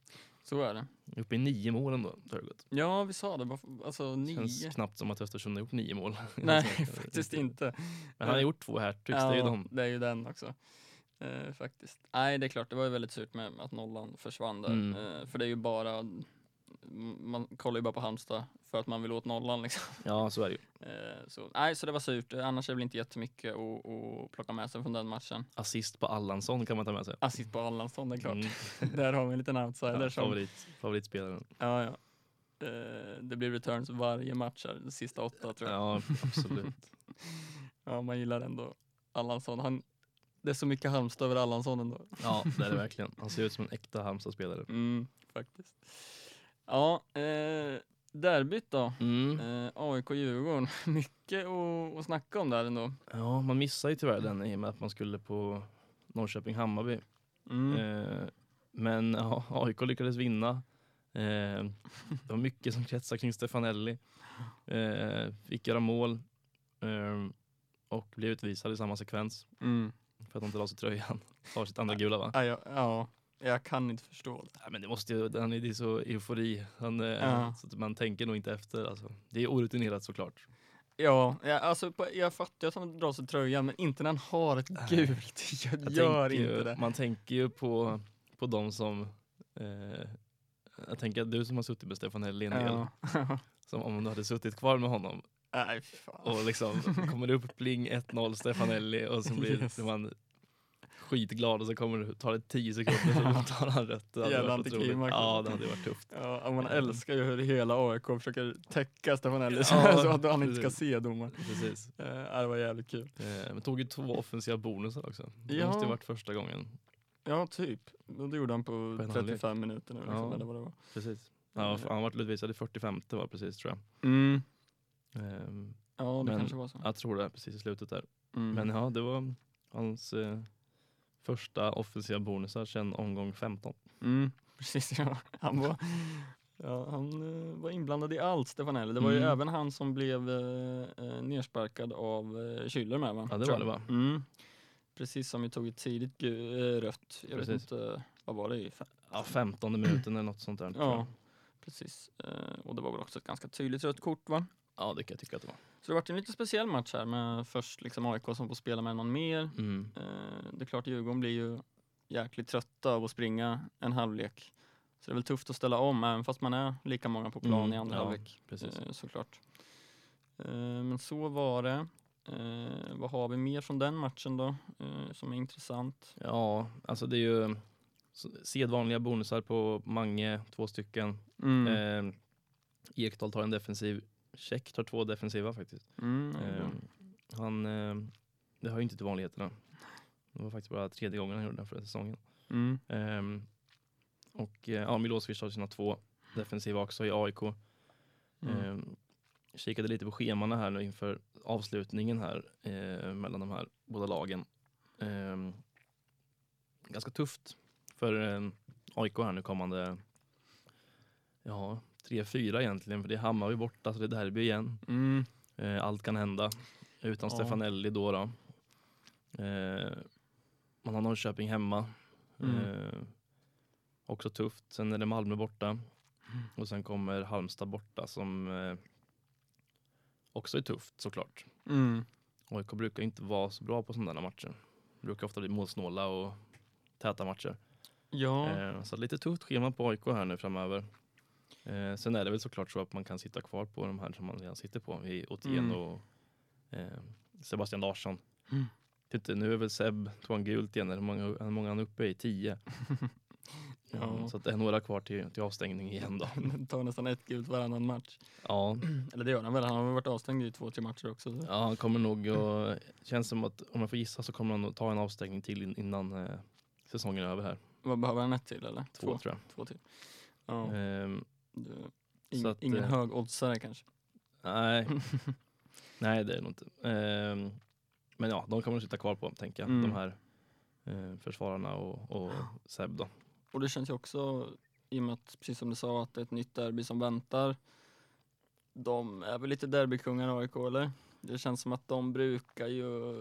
[SPEAKER 3] Så är det.
[SPEAKER 2] Uppe i nio mål ändå, Turgott.
[SPEAKER 3] Ja, vi sa det. Varför- Alltså,
[SPEAKER 2] Känns
[SPEAKER 3] nio.
[SPEAKER 2] knappt som att Östersund har gjort nio mål.
[SPEAKER 3] Nej, faktiskt inte.
[SPEAKER 2] Men han har gjort två hattricks, det är ju
[SPEAKER 3] Ja,
[SPEAKER 2] de.
[SPEAKER 3] det är ju den också. Eh, faktiskt. Nej, det är klart, det var ju väldigt surt med att nollan försvann där.
[SPEAKER 2] Mm.
[SPEAKER 3] Eh, för det är ju bara, man kollar ju bara på Halmstad för att man vill åt nollan liksom.
[SPEAKER 2] Ja, så är det ju.
[SPEAKER 3] Eh, så, nej, så det var surt. Eh, Annars är det väl inte jättemycket att, att plocka med sig från den matchen.
[SPEAKER 2] Assist på Allansson kan man ta med sig.
[SPEAKER 3] Assist på Allansson, det är klart.
[SPEAKER 2] Mm.
[SPEAKER 3] Där har vi en liten outsider
[SPEAKER 2] Ja,
[SPEAKER 3] som
[SPEAKER 2] favorit, favoritspelaren.
[SPEAKER 3] Ja, ja. Eh, Det blir returns varje match här, de sista åtta tror jag. Ja.
[SPEAKER 2] Ja, absolut.
[SPEAKER 3] man gillar ändå Allansson. Han, det är så mycket Halmstad över Allansson ändå.
[SPEAKER 2] Ja, det är det verkligen. Han ser ut som en äkta Halmstadspelare.
[SPEAKER 3] Mm, faktiskt. Ja, eh, derbyt då.
[SPEAKER 2] Mm.
[SPEAKER 3] Eh, AIK-Djurgården. Mycket att, att snacka om där ändå.
[SPEAKER 2] Ja, man missar ju tyvärr den i och med att man skulle på Norrköping-Hammarby.
[SPEAKER 3] Mm.
[SPEAKER 2] Eh, men ja, AIK lyckades vinna. Eh, det var mycket som kretsar kring Stefanelli. Eh, fick göra mål eh, och blev utvisad i samma sekvens
[SPEAKER 3] Mm.
[SPEAKER 2] för att han inte la sig tröjan. Tar sitt andra gula va?
[SPEAKER 3] Ja, jag, ja, jag kan inte förstå det.
[SPEAKER 2] Ja, men det måste ju, han är, det är så eufori. Han, eh,
[SPEAKER 3] Ja.
[SPEAKER 2] så att man tänker nog inte efter. Alltså. Det är orutinerat såklart.
[SPEAKER 3] Ja, jag, alltså, på, jag fattar att han drar sig tröjan, men inte när han har ett
[SPEAKER 2] Nej.
[SPEAKER 3] gult. Jag,
[SPEAKER 2] Jag
[SPEAKER 3] gör
[SPEAKER 2] tänker ju,
[SPEAKER 3] inte det.
[SPEAKER 2] Man tänker ju på, på de som... Eh, jag tänker att du som har suttit med Stefanelli en del,
[SPEAKER 3] Ja.
[SPEAKER 2] som om du hade suttit kvar med honom
[SPEAKER 3] Nej, fy fan.
[SPEAKER 2] och liksom kommer det upp pling 1-0 Stefanelli och så blir
[SPEAKER 3] Yes.
[SPEAKER 2] blir man skitglad och så kommer det, tar det 10 sekunder så tar han rött. Det hade
[SPEAKER 3] Jävla
[SPEAKER 2] varit otroligt.
[SPEAKER 3] antiklimax.
[SPEAKER 2] Ja, det hade varit tufft.
[SPEAKER 3] Ja, och man älskar ju hur hela AIK försöker täcka Stefanelli
[SPEAKER 2] Ja,
[SPEAKER 3] så att han inte ska
[SPEAKER 2] precis.
[SPEAKER 3] se domaren.
[SPEAKER 2] Precis.
[SPEAKER 3] Eh, ja, det var jävligt kul.
[SPEAKER 2] Eh, men tog ju två offensiva bonusar också. Det
[SPEAKER 3] Ja.
[SPEAKER 2] måste ju varit första gången.
[SPEAKER 3] Ja, typ. Och Det gjorde han på
[SPEAKER 2] På en
[SPEAKER 3] 35 minuter nu. Liksom,
[SPEAKER 2] Ja.
[SPEAKER 3] eller vad det var.
[SPEAKER 2] Precis. Ja, f- han vart utvisad i 45 var precis tror jag.
[SPEAKER 3] Mm.
[SPEAKER 2] Ehm,
[SPEAKER 3] Ja, det
[SPEAKER 2] Men-
[SPEAKER 3] kanske var så.
[SPEAKER 2] jag tror det precis i slutet där.
[SPEAKER 3] Mm.
[SPEAKER 2] Men ja, det var hans eh, första offensiva bonusar sedan omgång 15.
[SPEAKER 3] Mm. Precis, ja. Han var... Ja, han eh, var inblandad i allt, Stefanelli. Det var ju
[SPEAKER 2] Mm.
[SPEAKER 3] även han som blev eh, eh, nersparkad av eh, Schüller med va?
[SPEAKER 2] Ja, det
[SPEAKER 3] Tror
[SPEAKER 2] var
[SPEAKER 3] jag.
[SPEAKER 2] det va?
[SPEAKER 3] Mm. Precis som vi tog ett tidigt gu- eh, rött. Jag vet
[SPEAKER 2] Precis.
[SPEAKER 3] inte, vad var det i
[SPEAKER 2] Ja, 15 minuten eller något sånt där. tror
[SPEAKER 3] Ja,
[SPEAKER 2] jag.
[SPEAKER 3] precis. Eh, och det var väl också ett ganska tydligt rött kort va?
[SPEAKER 2] ja, det kan jag tycka att det var.
[SPEAKER 3] Så det vart en lite speciell match här med först liksom AIK som får spela med någon mer.
[SPEAKER 2] Mm.
[SPEAKER 3] Eh, det är klart Djurgården blir ju jäkligt trötta av att springa en halvlek. Så det är väl tufft att ställa om även fast man är lika många på plan
[SPEAKER 2] Mm,
[SPEAKER 3] i andra
[SPEAKER 2] ja,
[SPEAKER 3] halvlek.
[SPEAKER 2] Precis.
[SPEAKER 3] Eh, såklart. Eh, men så var det. Eh, vad har vi mer från den matchen då eh, som är intressant?
[SPEAKER 2] Ja, alltså det är ju s- sedvanliga bonusar på Mange, två stycken.
[SPEAKER 3] Mm.
[SPEAKER 2] Eh, Ekdal tar en defensiv, Check tar två defensiva faktiskt.
[SPEAKER 3] Mm, ja, det är bra.
[SPEAKER 2] Eh, han, eh, det hör ju inte till vanligheterna. Det var faktiskt bara tredje gången han gjorde den förra säsongen.
[SPEAKER 3] mm.
[SPEAKER 2] Eh, och eh, ja, Milosevic har sina två defensiva också i AIK.
[SPEAKER 3] Mm.
[SPEAKER 2] Eh, kikade lite på schemana här nu inför avslutningen här eh, mellan de här båda lagen. Eh, Ehm, ganska tufft för eh, AIK här nu kommande, ja, 3-4 egentligen, för det är Hammarby borta, så det är derby igen.
[SPEAKER 3] Mm.
[SPEAKER 2] Eh, allt kan hända. Utan
[SPEAKER 3] Ja.
[SPEAKER 2] Stefanelli då. då. Eh, man har Norrköping hemma.
[SPEAKER 3] Mm.
[SPEAKER 2] Eh, också tufft. Sen är det Malmö borta. Och sen kommer Halmstad borta som eh, också är tufft såklart.
[SPEAKER 3] Mm.
[SPEAKER 2] AIK brukar inte vara så bra på sådana matcher. Brukar ofta bli målsnåla och täta matcher.
[SPEAKER 3] Ja.
[SPEAKER 2] Eh, så lite tufft schema på AIK här nu framöver. Eh, sen är det väl såklart så att man kan sitta kvar på de här som man redan sitter på. I Othén
[SPEAKER 3] Mm.
[SPEAKER 2] och eh, Sebastian Larsson.
[SPEAKER 3] Mm.
[SPEAKER 2] Titta, nu är väl Seb, tog han gult igen? Hur många, hur många är han uppe i? Tio.
[SPEAKER 3] Ja.
[SPEAKER 2] Mm, så att det är några kvar till, till avstängning igen då.
[SPEAKER 3] Han ehm, tar nästan ett gult varannan match.
[SPEAKER 2] Ja,
[SPEAKER 3] Eller det gör han väl, han har väl varit avstängd i två, tre matcher också. Så.
[SPEAKER 2] ja han kommer nog och känns som att om jag får gissa så kommer han nog ta en avstängning till in- innan eh, säsongen är över här.
[SPEAKER 3] Vad behöver han ett till eller?
[SPEAKER 2] Två, tror jag.
[SPEAKER 3] Två till. Ja.
[SPEAKER 2] Ehm,
[SPEAKER 3] du- Ing,
[SPEAKER 2] så att,
[SPEAKER 3] ingen
[SPEAKER 2] eh,
[SPEAKER 3] hög oddsare kanske.
[SPEAKER 2] Nej. Nej, det är det nog inte. Ehm, men ja, de kommer att sitta kvar på, tänker jag.
[SPEAKER 3] Mm.
[SPEAKER 2] De här eh, försvararna och, och Seb då.
[SPEAKER 3] Och det känns ju också, i och med att, precis som du sa, att det är ett nytt derby som väntar. De är väl lite derbykungar AIK eller? Det känns som att de brukar ju,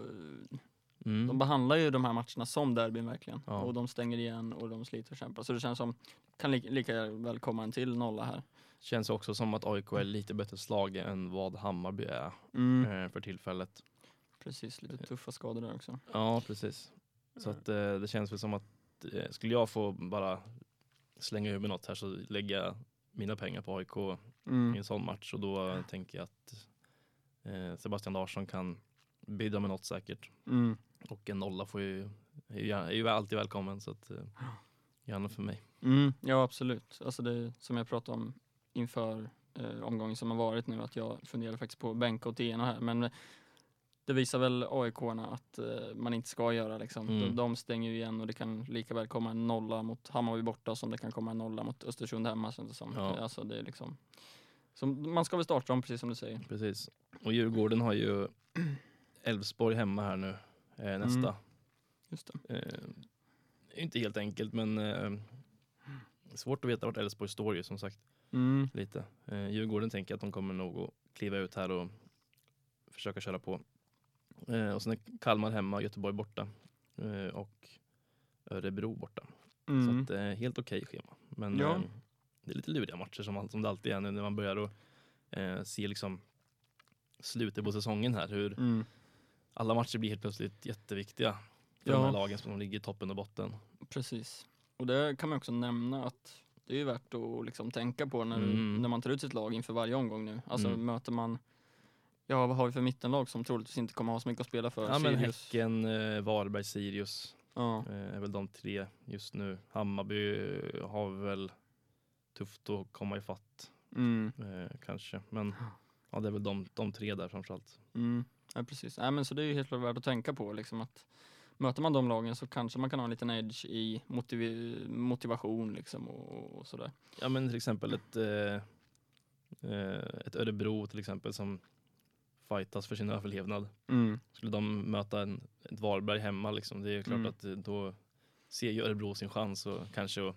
[SPEAKER 2] Mm.
[SPEAKER 3] de behandlar ju de här matcherna som derbyn verkligen.
[SPEAKER 2] Ja.
[SPEAKER 3] Och de stänger igen och de sliter och kämpar. Så det känns som, kan li- lika väl komma en till nolla här.
[SPEAKER 2] Känns också som att AIK är lite bättre slag än vad Hammarby är
[SPEAKER 3] Mm.
[SPEAKER 2] eh, för tillfället.
[SPEAKER 3] Precis, lite tuffa skador där också.
[SPEAKER 2] Ja, precis. Så att, eh, det känns väl som att eh, skulle jag få bara slänga ur mig något här så lägger jag mina pengar på AIK i
[SPEAKER 3] Mm.
[SPEAKER 2] en sån match och då tänker jag att eh, Sebastian Larsson kan bidra med något säkert.
[SPEAKER 3] Mm.
[SPEAKER 2] Och en nolla får ju, är ju- är ju alltid välkommen så att eh, gärna för mig.
[SPEAKER 3] Mm, ja, absolut. Alltså det är som jag pratade om inför eh, omgången som har varit nu, att jag funderar faktiskt på att bänka åt ena här. Men det visar väl AIK-arna att eh, man inte ska göra. Liksom.
[SPEAKER 2] Mm.
[SPEAKER 3] De, de stänger ju igen och det kan lika väl komma en nolla mot Hammarby borta som det kan komma en nolla mot Östersund hemma känns det som.
[SPEAKER 2] Ja.
[SPEAKER 3] Alltså det är liksom, så man ska väl starta dem precis som du säger.
[SPEAKER 2] Precis. Och Djurgården har ju Elfsborg hemma här nu eh, nästa.
[SPEAKER 3] Just det.
[SPEAKER 2] Eh, inte helt enkelt men eh, svårt att veta vart Elfsborg står ju som sagt
[SPEAKER 3] Mm,
[SPEAKER 2] lite. Eh, Djurgården tänker att de kommer nog att kliva ut här och försöka köra på. Eh, och sen är Kalmar hemma, Göteborg borta eh, och Örebro borta. Så
[SPEAKER 3] mm,
[SPEAKER 2] att, eh, helt okej schema. Men
[SPEAKER 3] Ja.
[SPEAKER 2] eh, det är lite luriga matcher som, all- som det alltid är nu när man börjar att, eh, se liksom slutet på säsongen här. Hur
[SPEAKER 3] mm.
[SPEAKER 2] alla matcher blir helt plötsligt jätteviktiga för de
[SPEAKER 3] Ja.
[SPEAKER 2] här lagen som ligger i toppen och botten.
[SPEAKER 3] Precis. Och det kan man också nämna att det är ju värt att liksom tänka på när,
[SPEAKER 2] Mm.
[SPEAKER 3] när man tar ut sitt lag inför varje omgång nu. Alltså
[SPEAKER 2] Mm.
[SPEAKER 3] möter man, ja vad har vi för mittenlag som troligtvis inte kommer ha så mycket att spela för?
[SPEAKER 2] Ja, men
[SPEAKER 3] Sirius.
[SPEAKER 2] Häcken, eh, Varberg, Sirius
[SPEAKER 3] Ja.
[SPEAKER 2] eh, är väl de tre just nu. Hammarby eh, har väl tufft att komma ifatt
[SPEAKER 3] Mm,
[SPEAKER 2] eh, kanske. Men ja, det är väl de, de tre där framförallt.
[SPEAKER 3] mm. ja, precis. Ja, men så det är ju helt klart värt att tänka på liksom att möter man de lagen så kanske man kan ha en liten edge i motiv- motivation liksom och, och sådär.
[SPEAKER 2] Ja men till exempel ett, eh, eh, ett Örebro till exempel som fightas för sin överlevnad.
[SPEAKER 3] Mm.
[SPEAKER 2] Skulle de möta en, ett Varberg hemma liksom, det är klart
[SPEAKER 3] Mm.
[SPEAKER 2] att eh, då ser ju Örebro sin chans och kanske att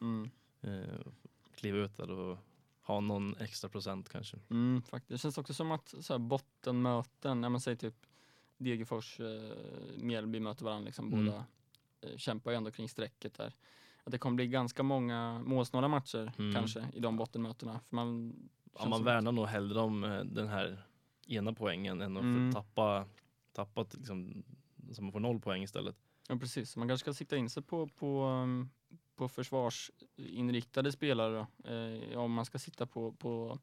[SPEAKER 3] Mm.
[SPEAKER 2] eh, kliva ut där och ha någon extra procent kanske.
[SPEAKER 3] Mm, faktiskt. Det känns också som att så här, bottenmöten, när man säger typ Degerfors, eh, Mjällby möter varandra, liksom,
[SPEAKER 2] Mm.
[SPEAKER 3] båda eh, kämpar ju ändå kring strecket där. Att det kommer bli ganska många målsnåla matcher
[SPEAKER 2] Mm.
[SPEAKER 3] kanske i de bottenmötena. För man,
[SPEAKER 2] Ja,
[SPEAKER 3] känns
[SPEAKER 2] man
[SPEAKER 3] som-
[SPEAKER 2] värnar nog hellre om eh, den här ena poängen än att
[SPEAKER 3] Mm.
[SPEAKER 2] få tappa, tappa t- liksom, så man får noll poäng istället.
[SPEAKER 3] ja, precis. Man kanske ska sikta in sig på, på, um, på försvarsinriktade spelare då. Eh, om man ska sitta på, på,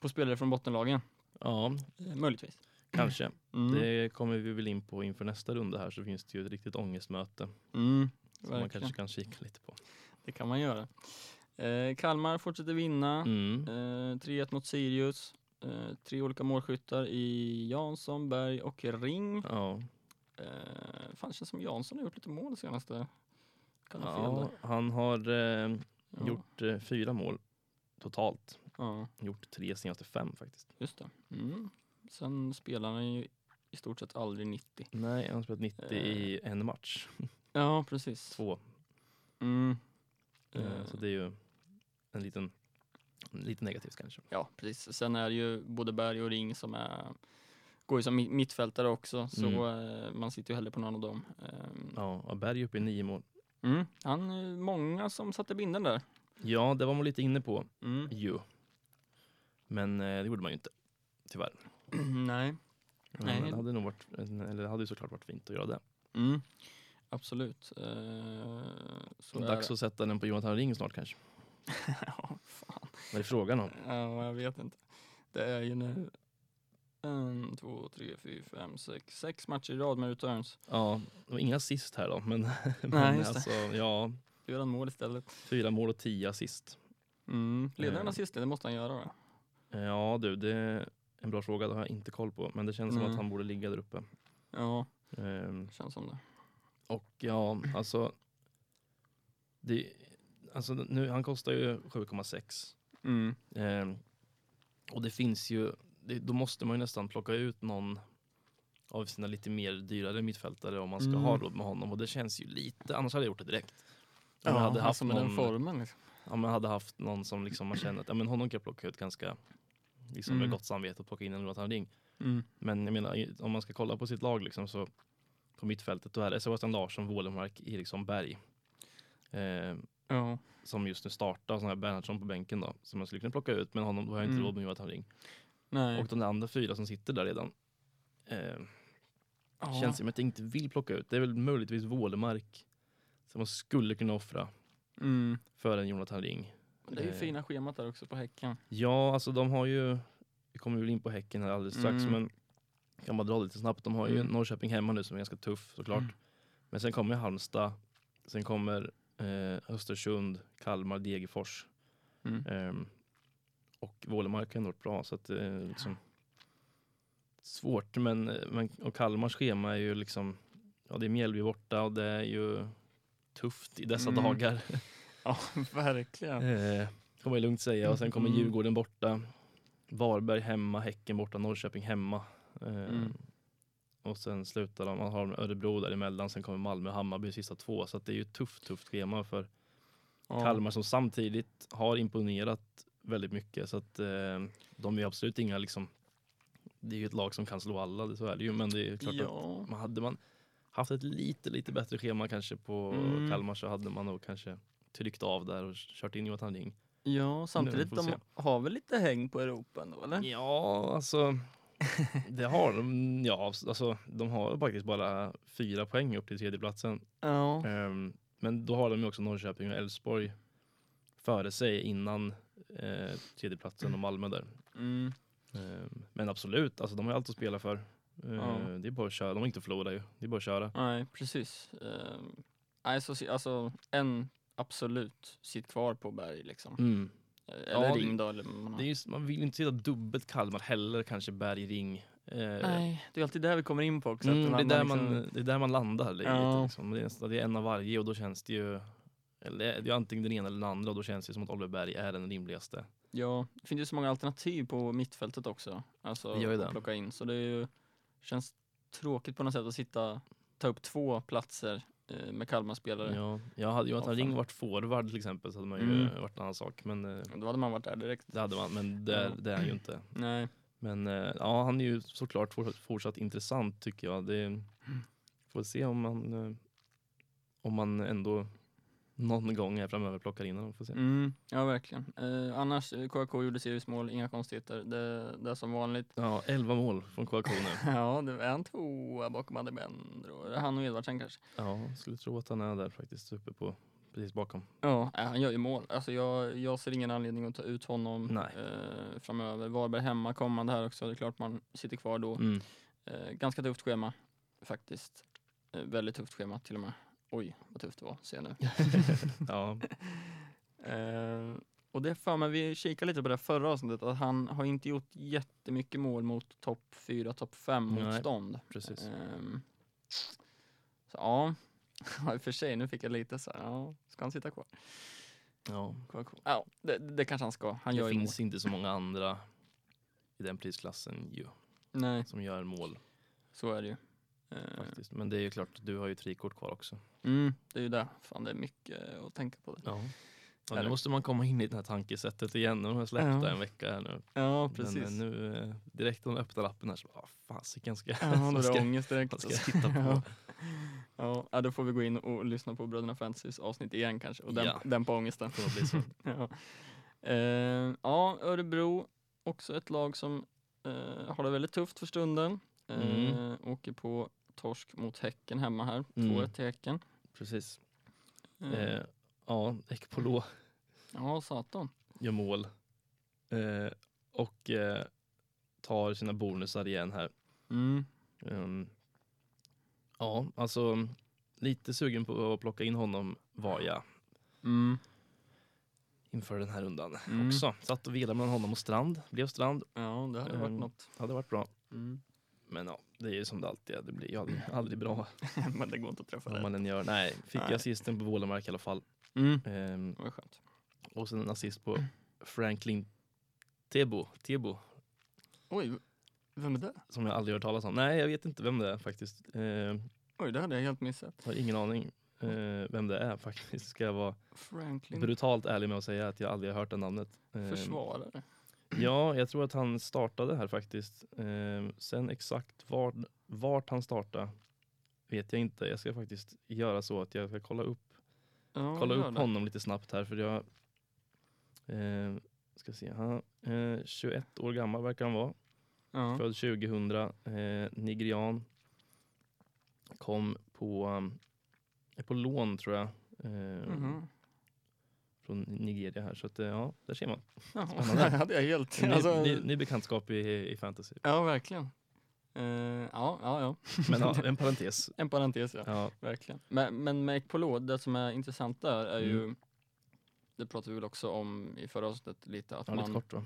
[SPEAKER 3] på spelare från bottenlagen.
[SPEAKER 2] Ja,
[SPEAKER 3] Eh, möjligtvis.
[SPEAKER 2] kanske.
[SPEAKER 3] Mm.
[SPEAKER 2] Det kommer vi väl in på inför nästa runda här så finns det ju ett riktigt ångestmöte.
[SPEAKER 3] Mm.
[SPEAKER 2] Som man
[SPEAKER 3] Verkligen.
[SPEAKER 2] kanske kan kika lite på.
[SPEAKER 3] Det kan man göra. Eh, Kalmar fortsätter vinna.
[SPEAKER 2] Mm.
[SPEAKER 3] Eh, 3-1 mot Sirius. Eh, tre olika målskyttar i Jansson, Berg och Ring.
[SPEAKER 2] Ja.
[SPEAKER 3] Eh, fan, det känns som Jansson har gjort lite mål senaste. Kan ha fel
[SPEAKER 2] ja,
[SPEAKER 3] där.
[SPEAKER 2] han har eh,
[SPEAKER 3] Ja,
[SPEAKER 2] gjort eh, fyra mål totalt.
[SPEAKER 3] Ja,
[SPEAKER 2] Gjort tre senaste fem faktiskt.
[SPEAKER 3] just det. Mm. Sen spelar han ju i stort sett aldrig 90.
[SPEAKER 2] Nej, han har spelat 90
[SPEAKER 3] Eh.
[SPEAKER 2] i en match.
[SPEAKER 3] Ja, precis.
[SPEAKER 2] Två.
[SPEAKER 3] Mm.
[SPEAKER 2] Eh,
[SPEAKER 3] Eh,
[SPEAKER 2] Så det är ju en liten, lite negativt kanske.
[SPEAKER 3] Ja, precis. Sen är det ju både Berg och Ring som är, går ju som mi- mittfältare också, så
[SPEAKER 2] Mm.
[SPEAKER 3] eh, man sitter ju hellre på någon av dem. Ehm,
[SPEAKER 2] Ja, och Berg uppe i nio mål.
[SPEAKER 3] Mm. Han, eh, många som satte binden där.
[SPEAKER 2] Ja, det var man lite inne på
[SPEAKER 3] Mm.
[SPEAKER 2] ju. Men eh, det gjorde man ju inte, tyvärr.
[SPEAKER 3] Nej.
[SPEAKER 2] Men
[SPEAKER 3] Nej.
[SPEAKER 2] Det hade, nog varit, eller det hade ju såklart varit fint att göra det.
[SPEAKER 3] Mm. Absolut. Eh, så är
[SPEAKER 2] Dags
[SPEAKER 3] det.
[SPEAKER 2] att sätta den på Jonathan Ring snart kanske.
[SPEAKER 3] ja, fan.
[SPEAKER 2] Vad är frågan om?
[SPEAKER 3] Ja, eh, jag vet inte. Det är ju nu en, två, tre, fyra, fem, sex, sex matcher i rad med returns.
[SPEAKER 2] Ja, det var inga assist här då, men,
[SPEAKER 3] Nej,
[SPEAKER 2] men
[SPEAKER 3] just det.
[SPEAKER 2] alltså, ja,
[SPEAKER 3] Gör han mål istället.
[SPEAKER 2] fyra mål och tio assist.
[SPEAKER 3] Mm. Leder han
[SPEAKER 2] Eh.
[SPEAKER 3] assisten? Det måste han göra va?
[SPEAKER 2] Ja du, det är en bra fråga, det har jag inte koll på, men det känns som
[SPEAKER 3] Nej.
[SPEAKER 2] att han borde ligga där uppe.
[SPEAKER 3] Ja,
[SPEAKER 2] Ehm,
[SPEAKER 3] det känns som det.
[SPEAKER 2] och ja, alltså, det, alltså nu, han kostar ju 7,6.
[SPEAKER 3] Mm.
[SPEAKER 2] Ehm, och det finns ju, det, då måste man ju nästan plocka ut någon av sina lite mer dyrare mittfältare om man ska
[SPEAKER 3] Mm.
[SPEAKER 2] ha råd med honom och det känns ju lite, annars hade jag gjort det direkt. Om
[SPEAKER 3] Ja,
[SPEAKER 2] jag hade
[SPEAKER 3] han
[SPEAKER 2] haft
[SPEAKER 3] som är
[SPEAKER 2] någon,
[SPEAKER 3] den formen liksom.
[SPEAKER 2] om jag hade haft någon som liksom man känner att ja, men honom kan jag plocka ut ganska liksom med
[SPEAKER 3] Mm.
[SPEAKER 2] gott samvete och plocka in en Jonathan Ring.
[SPEAKER 3] Mm.
[SPEAKER 2] Men jag menar i- om man ska kolla på sitt lag liksom så på mittfältet då är det Sebastian Larsson, Wålemark, Eriksson, Berg. Ehm,
[SPEAKER 3] Ja.
[SPEAKER 2] som just nu startar och så har jag Bernhardsson på bänken då som jag skulle kunna plocka ut men honom då har jag inte
[SPEAKER 3] Mm.
[SPEAKER 2] råd med Jonathan Ring.
[SPEAKER 3] Nej.
[SPEAKER 2] Och de där andra fyra som sitter där redan. Eh,
[SPEAKER 3] ja.
[SPEAKER 2] Känns som att jag inte vill plocka ut. Det är väl möjligtvis Vålemark som man skulle kunna offra
[SPEAKER 3] mm.
[SPEAKER 2] för en Jonathan Ring.
[SPEAKER 3] Det är ju
[SPEAKER 2] Eh.
[SPEAKER 3] fina schemat där också på Häcken.
[SPEAKER 2] Ja, alltså de har ju, vi kommer väl in på Häcken här alldeles strax,
[SPEAKER 3] Mm.
[SPEAKER 2] men jag kan bara dra lite snabbt. De har ju
[SPEAKER 3] Mm.
[SPEAKER 2] Norrköping hemma nu som är ganska tuff såklart.
[SPEAKER 3] Mm.
[SPEAKER 2] Men sen kommer Halmstad, sen kommer eh, Östersund, Kalmar, Degerfors.
[SPEAKER 3] Mm.
[SPEAKER 2] Ehm, och Vålemark har ändå varit bra så att eh, liksom svårt men, men och Kalmars schema är ju liksom ja det är Mjällby borta och det är ju tufft i dessa
[SPEAKER 3] Mm.
[SPEAKER 2] dagar.
[SPEAKER 3] Ja, verkligen.
[SPEAKER 2] Eh, kan man ju lugnt säga och sen kommer
[SPEAKER 3] Mm.
[SPEAKER 2] Djurgården borta. Varberg hemma, Häcken borta, Norrköping hemma. Eh,
[SPEAKER 3] Mm.
[SPEAKER 2] Och sen slutar de, man har Örebro däremellan, sen kommer Malmö och Hammarby sista två. Så att det är ju ett tufft, tufft schema för
[SPEAKER 3] Ja.
[SPEAKER 2] Kalmar som samtidigt har imponerat väldigt mycket så att eh, de är ju absolut inga liksom det är ju ett lag som kan slå alla, det, så är det ju. Men det är klart
[SPEAKER 3] Ja.
[SPEAKER 2] att man hade man haft ett lite, lite bättre schema kanske på
[SPEAKER 3] Mm.
[SPEAKER 2] Kalmar så hade man nog kanske tryckt av där och kört in Jonathan Ring.
[SPEAKER 3] Ja, samtidigt
[SPEAKER 2] får vi
[SPEAKER 3] de
[SPEAKER 2] se.
[SPEAKER 3] har väl lite häng på Europa ändå eller?
[SPEAKER 2] Ja, alltså det har de. Ja, alltså de har faktiskt bara fyra poäng upp till tredjeplatsen.
[SPEAKER 3] Ja.
[SPEAKER 2] Ehm, men då har de ju också Norrköping och Elfsborg före sig innan eh, tredjeplatsen och Malmö där.
[SPEAKER 3] Mm.
[SPEAKER 2] Ehm, men absolut, alltså, de har ju allt att spela för. Ehm,
[SPEAKER 3] Ja.
[SPEAKER 2] Det är bara att köra, de har inte att förlora ju. Det är bara att köra.
[SPEAKER 3] Nej, precis. Eh, nej, så, se- alltså en absolut sitt kvar på berg liksom.
[SPEAKER 2] Mm.
[SPEAKER 3] Eh, Eller
[SPEAKER 2] Ja, det-
[SPEAKER 3] ring då. Eller man har.
[SPEAKER 2] Det är just, man vill ju inte sitta dubbelt Kalmar heller, kanske Berg, Ring. Ehm,
[SPEAKER 3] nej, Eh, det är alltid där vi kommer in på också.
[SPEAKER 2] Mm,
[SPEAKER 3] att
[SPEAKER 2] det, är
[SPEAKER 3] man-
[SPEAKER 2] där
[SPEAKER 3] man
[SPEAKER 2] man,
[SPEAKER 3] liksom-
[SPEAKER 2] det är där man landar. Det är,
[SPEAKER 3] Ja.
[SPEAKER 2] lite, liksom. det, är, nästan- det är en av varje och då känns det ju eller, det är antingen den ena eller den andra och då känns det som att Oliver Berg är den rimligaste.
[SPEAKER 3] Ja, det finns ju så många alternativ på mittfältet också. Alltså
[SPEAKER 2] Det gör ju
[SPEAKER 3] att
[SPEAKER 2] det.
[SPEAKER 3] plocka in. Så det är ju, känns tråkigt på något sätt att sitta, ta upp två platser eh, med Kalmar-spelare.
[SPEAKER 2] Ja, jag hade ju att
[SPEAKER 3] Ja,
[SPEAKER 2] han Ring
[SPEAKER 3] fan.
[SPEAKER 2] varit forward till exempel så hade man ju
[SPEAKER 3] Mm.
[SPEAKER 2] varit en annan sak. Men eh,
[SPEAKER 3] Då hade man varit där direkt.
[SPEAKER 2] det hade man, men det, är-
[SPEAKER 3] Ja.
[SPEAKER 2] det är han ju inte.
[SPEAKER 3] Nej.
[SPEAKER 2] Men eh, ja, han är ju såklart for- fortsatt intressant tycker jag. Det, får se om man, eh, om man ändå någon gång här framöver plockar in honom. Får se.
[SPEAKER 3] Mm, ja, verkligen. Eh, annars, eh, KK gjorde seriemål, inga konstigheter. Det, det är som vanligt.
[SPEAKER 2] Ja, 11 mål från KK nu.
[SPEAKER 3] Ja, det är en tvåa bakom Adebendro. Han och Edvardsen kanske.
[SPEAKER 2] Ja, skulle tro att han är där faktiskt, uppe på precis bakom.
[SPEAKER 3] Ja, eh, han gör ju mål. Alltså jag, jag ser ingen anledning att ta ut honom
[SPEAKER 2] Nej.
[SPEAKER 3] eh, framöver. Varberg hemma kommande här också. Det är klart man sitter kvar då.
[SPEAKER 2] Mm.
[SPEAKER 3] Eh, ganska tufft schema faktiskt. Eh, väldigt tufft schema till och med. Oj, vad tufft det var, ser jag nu.
[SPEAKER 2] Ja,
[SPEAKER 3] Eh, och det är för mig, vi kikade lite på det förra avsnittet, att han har inte gjort jättemycket mål mot topp 4, topp 5
[SPEAKER 2] Nej,
[SPEAKER 3] motstånd.
[SPEAKER 2] precis.
[SPEAKER 3] Ehm, så ja, Ja, i och för sig, nu fick jag lite så här, ja, ska han sitta kvar?
[SPEAKER 2] Ja.
[SPEAKER 3] kvar, kvar. Ja, det, det kanske han ska, han gör
[SPEAKER 2] Det
[SPEAKER 3] ju
[SPEAKER 2] finns inte så många andra i den prisklassen ju,
[SPEAKER 3] mål. Nej,
[SPEAKER 2] som gör mål.
[SPEAKER 3] så är det ju. Eh,
[SPEAKER 2] faktiskt. Men det är ju klart, du har ju trikort kvar också.
[SPEAKER 3] Mm, det är ju det. Fan, det är mycket att tänka på. Det.
[SPEAKER 2] Ja. Ja, nu
[SPEAKER 3] Eller-
[SPEAKER 2] måste man komma in i det här tankesättet igen. Nu har jag släppt
[SPEAKER 3] Ja.
[SPEAKER 2] det en vecka här nu.
[SPEAKER 3] Ja,
[SPEAKER 2] Men nu eh, direkt när man öppnar appen här så bara, "Ah, fasiken ska jag...
[SPEAKER 3] Ja, då
[SPEAKER 2] vad
[SPEAKER 3] är det
[SPEAKER 2] ska,
[SPEAKER 3] ångest direkt.
[SPEAKER 2] vad ska jag titta på?
[SPEAKER 3] Ja. Ja, ja, då får vi gå in och lyssna på Bröderna Fantasys avsnitt igen kanske. Och den,
[SPEAKER 2] Ja.
[SPEAKER 3] den på ångesten.
[SPEAKER 2] Kommer att bli så.
[SPEAKER 3] ja. Eh, ja, Örebro, också ett lag som eh, har det väldigt tufft för stunden. Eh,
[SPEAKER 2] Mm.
[SPEAKER 3] Åker på torsk mot Häcken hemma här.
[SPEAKER 2] Mm.
[SPEAKER 3] 2-1 till Häcken.
[SPEAKER 2] Precis.
[SPEAKER 3] Eh,
[SPEAKER 2] Eh, ja, Ekpolo
[SPEAKER 3] Ja, satan.
[SPEAKER 2] gör mål. Eh, och eh, tar sina bonusar igen här.
[SPEAKER 3] Mm.
[SPEAKER 2] Ehm, ja, alltså lite sugen på att plocka in honom var jag
[SPEAKER 3] Mm.
[SPEAKER 2] inför den här rundan
[SPEAKER 3] Mm.
[SPEAKER 2] också. Satt och vilade mellan honom och Strand. Blev Strand.
[SPEAKER 3] Ja, det hade varit
[SPEAKER 2] Ehm.
[SPEAKER 3] något.
[SPEAKER 2] Hade varit bra.
[SPEAKER 3] Mm.
[SPEAKER 2] Men ja, det är ju som det alltid är. Det blir ju aldrig, aldrig bra
[SPEAKER 3] Men det går inte att träffa
[SPEAKER 2] vad
[SPEAKER 3] det.
[SPEAKER 2] man än gör. Nej, fick
[SPEAKER 3] Nej.
[SPEAKER 2] jag assisten på Wålemark i alla fall.
[SPEAKER 3] Mm.
[SPEAKER 2] Ehm,
[SPEAKER 3] Det var skönt.
[SPEAKER 2] och sen en assist på Franklin Tebo, Tebo,
[SPEAKER 3] Oj, vem är det?
[SPEAKER 2] som jag aldrig hört talas om. Nej, jag vet inte vem det är faktiskt. Ehm,
[SPEAKER 3] Oj, det hade jag helt missat.
[SPEAKER 2] har ingen aning eh, vem det är faktiskt. Ska jag vara
[SPEAKER 3] Franklin,
[SPEAKER 2] brutalt ärlig med att säga att jag aldrig har hört det namnet.
[SPEAKER 3] eh,
[SPEAKER 2] Ehm,
[SPEAKER 3] försvarare.
[SPEAKER 2] Ja, jag tror att han startade här faktiskt. Ehm, sen exakt vart, vart han startade vet jag inte. Jag ska faktiskt göra så att jag ska kolla upp,
[SPEAKER 3] Ja,
[SPEAKER 2] kolla
[SPEAKER 3] gör
[SPEAKER 2] upp
[SPEAKER 3] det.
[SPEAKER 2] honom lite snabbt här för jag ehm, ska se. Han, eh, 21 år gammal verkar han vara.
[SPEAKER 3] Ja.
[SPEAKER 2] Född 2000, eh, nigerian. Kom på, um, är på lån tror jag. Eh,
[SPEAKER 3] Mhm.
[SPEAKER 2] Från Nigeria här. Så att, eh, ja, där ser man.
[SPEAKER 3] Jaha,
[SPEAKER 2] Spännande.
[SPEAKER 3] det hade jag helt...
[SPEAKER 2] Ny,
[SPEAKER 3] Alltså,
[SPEAKER 2] ny, ny bekantskap i, i fantasy.
[SPEAKER 3] ja, verkligen. Eh, ja, ja, ja.
[SPEAKER 2] Men ja, en parentes.
[SPEAKER 3] En parentes, ja.
[SPEAKER 2] Ja,
[SPEAKER 3] Verkligen. Men, men med Ekpolo, det som är intressant där är
[SPEAKER 2] Mm.
[SPEAKER 3] ju, det pratade vi väl också om i förra avsnittet lite, att
[SPEAKER 2] ja lite
[SPEAKER 3] man,
[SPEAKER 2] kort va?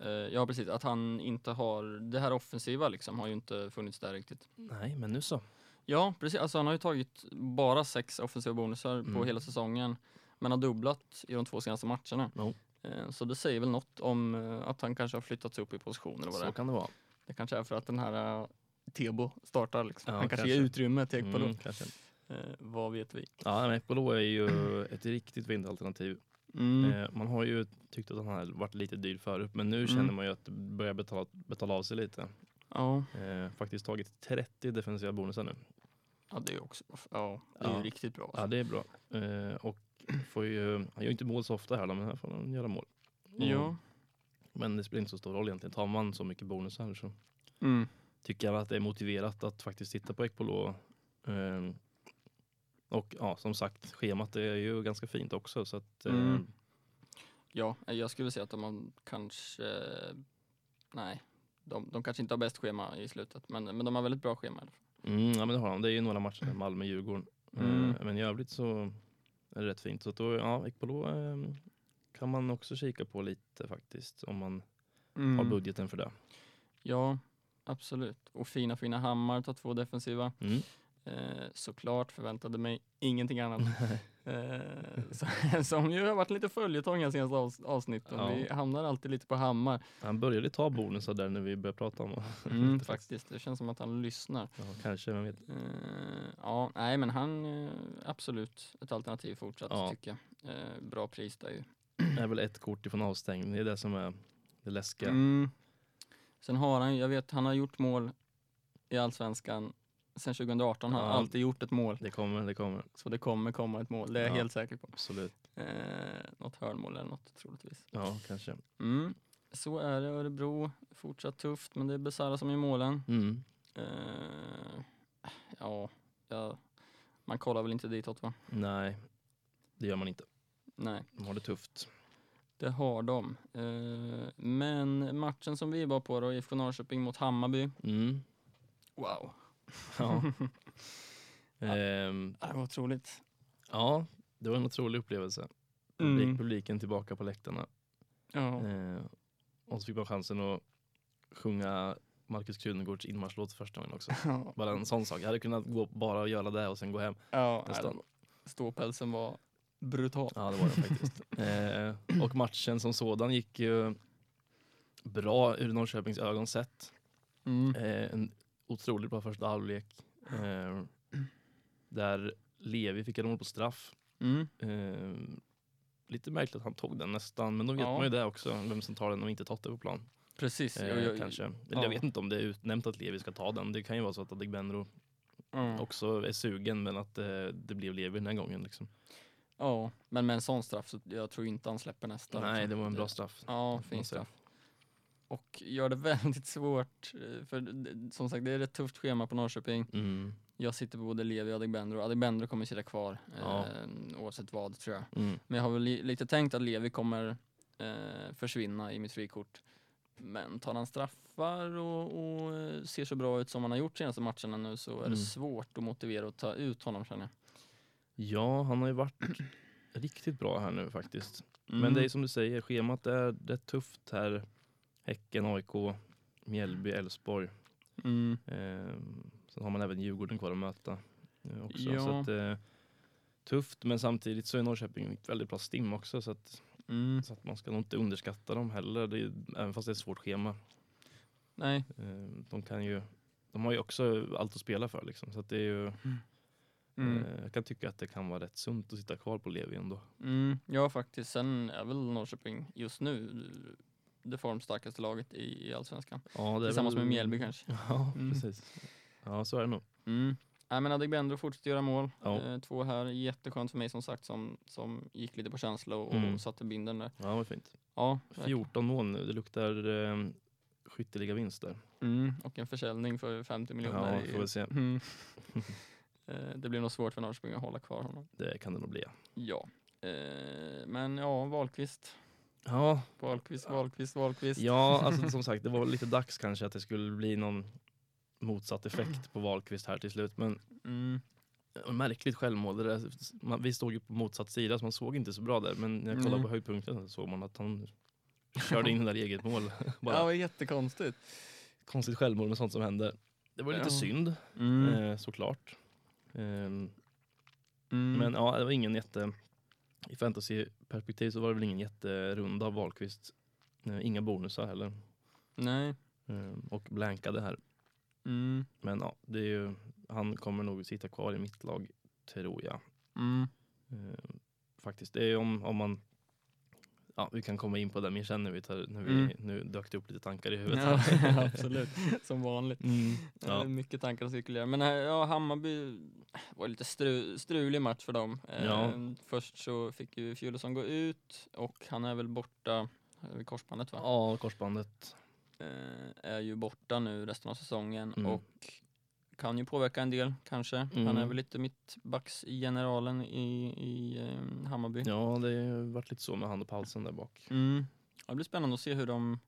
[SPEAKER 3] eh, ja precis, att han inte har, det här offensiva liksom har ju inte funnits där riktigt.
[SPEAKER 2] Nej, men nu så.
[SPEAKER 3] Ja, precis. Alltså han har ju tagit bara sex offensiva bonusar på
[SPEAKER 2] Mm.
[SPEAKER 3] hela säsongen. Men har dubblat i de två senaste matcherna.
[SPEAKER 2] Jo.
[SPEAKER 3] Eh, Så det säger väl något om eh, att han kanske har flyttats upp i position eller vad det
[SPEAKER 2] Så
[SPEAKER 3] är.
[SPEAKER 2] kan det vara.
[SPEAKER 3] Det kanske är för att den här eh, Tebo startar liksom.
[SPEAKER 2] Ja,
[SPEAKER 3] han kanske, ger
[SPEAKER 2] kanske.
[SPEAKER 3] utrymme till Ekpolo.
[SPEAKER 2] Mm, kanske.
[SPEAKER 3] Eh, vad vet vi?
[SPEAKER 2] Ja, men Ekpolo är ju ett riktigt vinteralternativ. Eh, man har ju tyckt att han har varit lite dyr förut, men nu
[SPEAKER 3] Mm.
[SPEAKER 2] känner man ju att det börjar betala, betala av sig lite.
[SPEAKER 3] Ja.
[SPEAKER 2] Eh, faktiskt tagit 30 defensiva bonusar nu.
[SPEAKER 3] ja, det är ju också, ja, det är ju
[SPEAKER 2] Ja.
[SPEAKER 3] riktigt bra.
[SPEAKER 2] Ja,
[SPEAKER 3] Alltså.
[SPEAKER 2] det är bra. Eh, och får ju, han gör ju inte mål så ofta här, då, men här får han göra mål. Och-
[SPEAKER 3] Ja.
[SPEAKER 2] Men det spelar inte så stor roll egentligen. Tar man så mycket bonusar så
[SPEAKER 3] Mm.
[SPEAKER 2] tycker jag att det är motiverat att faktiskt titta på Ekpolo. Eh, och ja, som sagt, schemat är ju ganska fint också. Så att, eh,
[SPEAKER 3] Mm. Ja, eh, jag skulle säga att de kanske, eh, nej, de, de kanske inte har bäst schema i slutet. Men, men de har väldigt bra schema.
[SPEAKER 2] mm, ja, men det har han. Det är ju några matcher, där, Malmö-Djurgården.
[SPEAKER 3] Mm.
[SPEAKER 2] Eh, men i övrigt så är det rätt fint. Så att då, ja, Ekpolo eh, kan man också kika på lite faktiskt om man har
[SPEAKER 3] Mm.
[SPEAKER 2] budgeten för det.
[SPEAKER 3] Ja, absolut. Och fina, fina hammar, tar två defensiva.
[SPEAKER 2] Mm.
[SPEAKER 3] Eh, såklart förväntade mig ingenting annat. eh, så- som ju har varit lite följetong här senaste avs- avsnitten.
[SPEAKER 2] Ja.
[SPEAKER 3] Vi hamnar alltid lite på hammar.
[SPEAKER 2] Han började ta bonusar där när vi började prata om
[SPEAKER 3] Mm, faktiskt. Det känns som att han lyssnar.
[SPEAKER 2] Ja, kanske, vem vet.
[SPEAKER 3] Eh, ja, nej men han eh, absolut ett alternativ fortsatt
[SPEAKER 2] Ja.
[SPEAKER 3] tycker jag. Eh, bra pris där ju.
[SPEAKER 2] Det är väl ett kort ifrån avstängning, det är det som är det läskiga.
[SPEAKER 3] Mm. Sen har han, jag vet, han har gjort mål i Allsvenskan sen 2018. Han har
[SPEAKER 2] Ja.
[SPEAKER 3] alltid gjort ett mål.
[SPEAKER 2] Det kommer, det kommer.
[SPEAKER 3] Så det kommer komma ett mål, det är jag
[SPEAKER 2] Ja.
[SPEAKER 3] helt säker på.
[SPEAKER 2] Absolut.
[SPEAKER 3] Eh, något hörnmål eller något troligtvis.
[SPEAKER 2] Ja, kanske.
[SPEAKER 3] Mm. Så är det Örebro, fortsatt tufft men det är Besara som gör målen.
[SPEAKER 2] Mm.
[SPEAKER 3] Eh, ja, ja, man kollar väl inte ditåt va?
[SPEAKER 2] Nej, det gör man inte.
[SPEAKER 3] Nej,
[SPEAKER 2] De har det tufft.
[SPEAKER 3] det har de. Eh, men matchen som vi var på då, IFK Norrköping mot Hammarby.
[SPEAKER 2] Mm.
[SPEAKER 3] Wow,
[SPEAKER 2] Ja. Ehm,
[SPEAKER 3] det var otroligt.
[SPEAKER 2] ja, det var en otrolig upplevelse. Publik,
[SPEAKER 3] Mm.
[SPEAKER 2] Publiken tillbaka på läktarna.
[SPEAKER 3] Ja.
[SPEAKER 2] Ehm, och så fick man chansen att sjunga Markus Krunegårds inmarschlåt för första gången också.
[SPEAKER 3] Ja,
[SPEAKER 2] Bara en sån sak. Jag hade kunnat gå bara och göra det och sen gå hem.
[SPEAKER 3] ja, nej,
[SPEAKER 2] Nästan.
[SPEAKER 3] det- ståpälsen var brutal.
[SPEAKER 2] Ja, det var den faktiskt. eh, och matchen som sådan gick ju bra ur Norrköpings ögon sett.
[SPEAKER 3] Mm.
[SPEAKER 2] Eh, en otroligt bra första halvlek. Eh, där Levi fick ett mål på straff.
[SPEAKER 3] Mm.
[SPEAKER 2] Eh, lite märkligt att han tog den nästan, men då vet
[SPEAKER 3] Ja.
[SPEAKER 2] man ju det också, vem som tar den och inte tagit det på plan.
[SPEAKER 3] Precis.
[SPEAKER 2] Eh,
[SPEAKER 3] jag, jag,
[SPEAKER 2] kanske. Eller
[SPEAKER 3] ja.
[SPEAKER 2] jag vet inte om det är utnämnt att Levi ska ta den. Det kan ju vara så att Adegbenro
[SPEAKER 3] Ja.
[SPEAKER 2] också är sugen, men att eh, det blev Levi den här gången. Liksom.
[SPEAKER 3] ja, men med en sån straff så jag tror inte han släpper nästa.
[SPEAKER 2] Nej,
[SPEAKER 3] liksom.
[SPEAKER 2] det var en bra straff.
[SPEAKER 3] Ja,
[SPEAKER 2] får man säga.
[SPEAKER 3] fin straff. Och gör det väldigt svårt, eh, för det- som sagt det är ett tufft schema på Norrköping.
[SPEAKER 2] Mm.
[SPEAKER 3] Jag sitter på både Levi och Adegbenro. Adegbenro kommer sitta kvar
[SPEAKER 2] Ja.
[SPEAKER 3] eh, oavsett vad tror jag.
[SPEAKER 2] Mm.
[SPEAKER 3] Men jag har väl li- lite tänkt att Levi kommer eh, försvinna i mitt frikort. Men tar han straffar och, och eh, ser så bra ut som han har gjort senaste matcherna nu så är det
[SPEAKER 2] Mm.
[SPEAKER 3] svårt att motivera att ta ut honom känner jag.
[SPEAKER 2] Ja, han har ju varit riktigt bra här nu faktiskt. Men
[SPEAKER 3] Mm.
[SPEAKER 2] det är som du säger, schemat är rätt tufft här. Häcken, AIK, Mjällby, Elfsborg.
[SPEAKER 3] Mm.
[SPEAKER 2] Eh, sen har man även Djurgården kvar att möta. Eh, också.
[SPEAKER 3] Ja.
[SPEAKER 2] Så att, eh, tufft, men samtidigt så är Norrköping ett väldigt bra stim också. Så att,
[SPEAKER 3] Mm.
[SPEAKER 2] så att man ska nog inte underskatta dem heller, det är, även fast det är ett svårt schema.
[SPEAKER 3] Nej,
[SPEAKER 2] Eh, de, kan ju, de har ju också allt att spela för. Liksom, så att det är ju,
[SPEAKER 3] mm.
[SPEAKER 2] eh, jag kan tycka att det kan vara rätt sunt att sitta kvar på Levi ändå.
[SPEAKER 3] Mm. ja faktiskt. Sen är väl Norrköping just nu det formstarkaste laget i, i Allsvenskan.
[SPEAKER 2] Ja, det är
[SPEAKER 3] Tillsammans
[SPEAKER 2] väl-
[SPEAKER 3] med Mjällby kanske.
[SPEAKER 2] Ja,
[SPEAKER 3] Mm.
[SPEAKER 2] precis. Ja, så är det nog.
[SPEAKER 3] Mm. Nej men Adegbenro fortsätter göra mål.
[SPEAKER 2] Ja.
[SPEAKER 3] Eh, två här, jätteskönt för mig som sagt som, som gick lite på känsla och,
[SPEAKER 2] Mm.
[SPEAKER 3] och satte binden där.
[SPEAKER 2] Ja, vad fint.
[SPEAKER 3] Ja, verkligen.
[SPEAKER 2] 14 mål nu, det luktar eh, skytteliga vinster.
[SPEAKER 3] mm. och en försäljning för 50 miljoner.
[SPEAKER 2] Ja,
[SPEAKER 3] i-
[SPEAKER 2] får vi se.
[SPEAKER 3] Mm. Eh, det blir nog svårt för Norrköping att hålla kvar honom.
[SPEAKER 2] Det kan det nog bli. ja.
[SPEAKER 3] Ja, eh, men ja, Wahlqvist,
[SPEAKER 2] Ja,
[SPEAKER 3] Wahlqvist, Wahlqvist, Wahlqvist.
[SPEAKER 2] Ja, alltså som sagt, det var lite dags kanske att det skulle bli någon motsatt effekt på Wahlqvist här till slut. Men
[SPEAKER 3] Mm.
[SPEAKER 2] eh, märkligt självmål. Det där, man, vi stod ju på motsatt sida så man såg inte så bra där. Men när jag kollade
[SPEAKER 3] Nej.
[SPEAKER 2] på höjdpunkten så såg man att han körde in det där i eget mål. Bara
[SPEAKER 3] Ja, det var jättekonstigt.
[SPEAKER 2] konstigt självmål med sånt som händer. Det var lite
[SPEAKER 3] Ja.
[SPEAKER 2] synd,
[SPEAKER 3] Mm.
[SPEAKER 2] eh, såklart. Ehm,
[SPEAKER 3] Mm.
[SPEAKER 2] Men ja, det var ingen jätte... I fantasyperspektiv så var det väl ingen jätterunda av Wahlqvist. Eh, Inga bonusar heller.
[SPEAKER 3] Nej.
[SPEAKER 2] Ehm, Och blankade här.
[SPEAKER 3] Mm.
[SPEAKER 2] Men ja, det är ju, han kommer nog sitta kvar i mitt lag, tror jag.
[SPEAKER 3] Mm.
[SPEAKER 2] Eh, faktiskt. Det är om, om man... Ja, vi kan komma in på det mer sen när vi tar, när vi,
[SPEAKER 3] Mm.
[SPEAKER 2] nu dök det upp lite tankar i huvudet.
[SPEAKER 3] Ja,
[SPEAKER 2] här.
[SPEAKER 3] absolut, Ehm. som vanligt.
[SPEAKER 2] Mm.
[SPEAKER 3] Ja. Det är
[SPEAKER 2] Ja.
[SPEAKER 3] mycket tankar som cirkulerar. Men eh, ja, Hammarby var lite stru, strulig match för dem. Eh,
[SPEAKER 2] Ja.
[SPEAKER 3] Först så fick ju Fjulesson gå ut och han är väl borta, eh, vid korsbandet va?
[SPEAKER 2] ja, korsbandet.
[SPEAKER 3] Eh, är ju borta nu resten av säsongen
[SPEAKER 2] Mm.
[SPEAKER 3] och kan ju påverka en del kanske. Han
[SPEAKER 2] Mm.
[SPEAKER 3] är väl lite mittbacksgeneralen i, i eh, Hammarby.
[SPEAKER 2] Ja, det har ju varit lite så med han och Paulsen där bak.
[SPEAKER 3] Mm. Ja, Det blir spännande att se hur de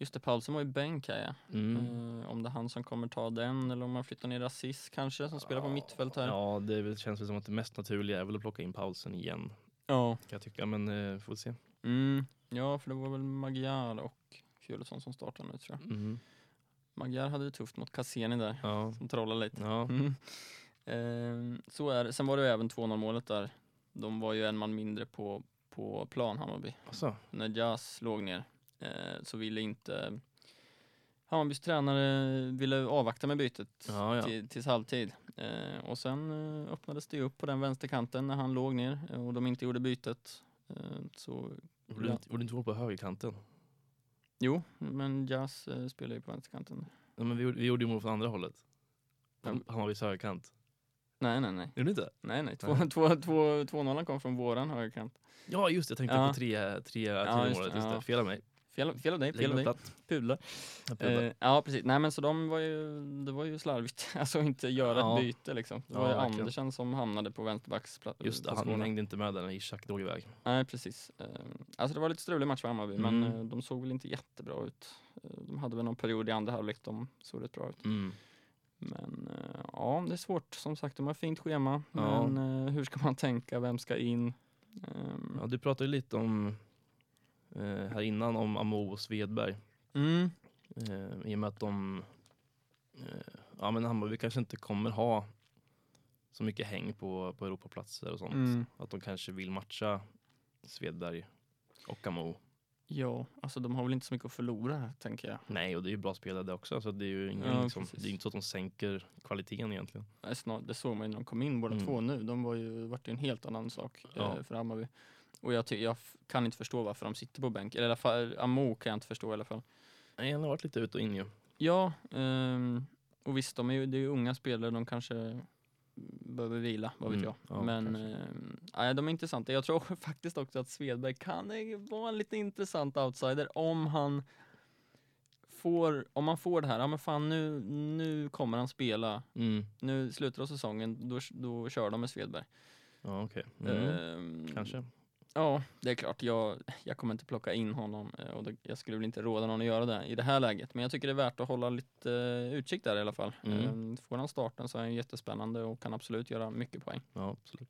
[SPEAKER 3] Just det, Paulsen var ju bänk här ja.
[SPEAKER 2] Mm.
[SPEAKER 3] Eh, om det är han som kommer ta den eller om man flyttar ner Aziz kanske som spelar på
[SPEAKER 2] Ja,
[SPEAKER 3] mittfält här.
[SPEAKER 2] Ja, det är väl- känns väl som att det mest naturliga är väl att plocka in Paulsen igen,
[SPEAKER 3] Ja.
[SPEAKER 2] kan jag tycka. Men eh, får vi se.
[SPEAKER 3] Mm. Ja, för det var väl Magyar och Fjulesson som startade nu tror jag.
[SPEAKER 2] Mm.
[SPEAKER 3] Magyar hade det tufft mot Cassini där,
[SPEAKER 2] Ja.
[SPEAKER 3] som trollade lite.
[SPEAKER 2] Ja.
[SPEAKER 3] Mm. Ehm, så är det. Sen var det ju även 2-0 målet där. De var ju en man mindre på, på plan, Hammarby.
[SPEAKER 2] Alltså.
[SPEAKER 3] När Jas låg ner eh, så ville inte Hammarbys tränare ville avvakta med bytet
[SPEAKER 2] Ja, ja.
[SPEAKER 3] till, tills halvtid. Eh, och sen eh, öppnades det upp på den vänsterkanten när han låg ner eh, och de inte gjorde bytet. Eh, så
[SPEAKER 2] Gjorde du
[SPEAKER 3] Ja.
[SPEAKER 2] inte- gjorde du inte mål på högerkanten?
[SPEAKER 3] jo, men Jas eh, spelar ju på vänsterkanten.
[SPEAKER 2] Nej, men vi, gjorde- vi gjorde ju mål från andra hållet.
[SPEAKER 3] Ja.
[SPEAKER 2] Han, han var vid högerkant.
[SPEAKER 3] Nej, nej, nej.
[SPEAKER 2] Gjorde ni inte?
[SPEAKER 3] Nej, nej. Två-
[SPEAKER 2] Nej.
[SPEAKER 3] två- två- 2-0 kom från våran högerkant.
[SPEAKER 2] Ja just det, jag tänkte
[SPEAKER 3] Ja.
[SPEAKER 2] på tre, tre, tre
[SPEAKER 3] Ja, just det,
[SPEAKER 2] målet. Just det.
[SPEAKER 3] ja.
[SPEAKER 2] Fel av mig.
[SPEAKER 3] Fel, fel av dig,
[SPEAKER 2] Lägg
[SPEAKER 3] fel av
[SPEAKER 2] mig
[SPEAKER 3] dig.
[SPEAKER 2] platt.
[SPEAKER 3] Pudla.
[SPEAKER 2] Jag pudlar.
[SPEAKER 3] Eh, ja precis, nej men så de var ju, det var ju slarvigt, alltså inte göra
[SPEAKER 2] Ja.
[SPEAKER 3] ett byte liksom. Det
[SPEAKER 2] Ja,
[SPEAKER 3] var ju
[SPEAKER 2] verkligen.
[SPEAKER 3] Andersen som hamnade på vänsterbacksplatsen.
[SPEAKER 2] just det, han hängde inte med där när Ishak drog iväg.
[SPEAKER 3] Nej precis. Eh, alltså det var lite strulig match för Hammarby, men
[SPEAKER 2] Mm.
[SPEAKER 3] eh, de såg väl inte jättebra ut. Eh, de hade väl någon period i andra halvlek de såg rätt bra ut.
[SPEAKER 2] Mm.
[SPEAKER 3] Men eh, ja, det är svårt. Som sagt, de har ett fint schema.
[SPEAKER 2] Ja.
[SPEAKER 3] Men eh, hur ska man tänka, vem ska in? Ehm,
[SPEAKER 2] Ja, du pratade ju lite om eh, här innan om Amo och Svedberg.
[SPEAKER 3] mm,
[SPEAKER 2] Eh, I och med att de eh, ja, men Hammarby kanske inte kommer ha så mycket häng på, på Europaplatser och sånt.
[SPEAKER 3] mm.
[SPEAKER 2] Att de kanske vill matcha Svedberg och Amo.
[SPEAKER 3] Ja, alltså de har väl inte så mycket att förlora här, tänker jag.
[SPEAKER 2] Nej, och det är ju bra spelare det också. Så det är ju ingen,
[SPEAKER 3] Ja,
[SPEAKER 2] liksom,
[SPEAKER 3] precis.
[SPEAKER 2] det är inte så att de sänker kvaliteten egentligen.
[SPEAKER 3] Nej, Snar, Eh, det såg man ju när de kom in båda
[SPEAKER 2] Mm.
[SPEAKER 3] två nu. De var ju, vart ju en helt annan sak
[SPEAKER 2] Ja.
[SPEAKER 3] eh, för Hammarby. Och jag, ty- jag f- kan inte förstå varför de sitter på bänk. Eller i alla fall, Amo kan jag inte förstå i alla fall.
[SPEAKER 2] Nej, han har varit lite ut och in ju.
[SPEAKER 3] Ja, ehm, och visst, de är ju, det är ju unga spelare. De kanske behöver vila, vad vet
[SPEAKER 2] Mm,
[SPEAKER 3] jag.
[SPEAKER 2] ja,
[SPEAKER 3] Men
[SPEAKER 2] kanske.
[SPEAKER 3] ehm, nej, de är intressanta. Jag tror faktiskt också att Svedberg kan eh, vara en lite intressant outsider om han får, om man får det här, ja men fan nu, nu kommer han spela
[SPEAKER 2] Mm.
[SPEAKER 3] nu slutar av säsongen, då, då kör de med Svedberg.
[SPEAKER 2] Ja, okej. Mm.
[SPEAKER 3] Ehm,
[SPEAKER 2] Kanske.
[SPEAKER 3] Ja, det är klart. Jag, jag kommer inte plocka in honom eh, och det, jag skulle väl inte råda någon att göra det i det här läget. Men jag tycker det är värt att hålla lite eh, utkik där i alla fall.
[SPEAKER 2] Mm.
[SPEAKER 3] Ehm, får han starten så är han jättespännande och kan absolut göra mycket poäng.
[SPEAKER 2] Ja, absolut.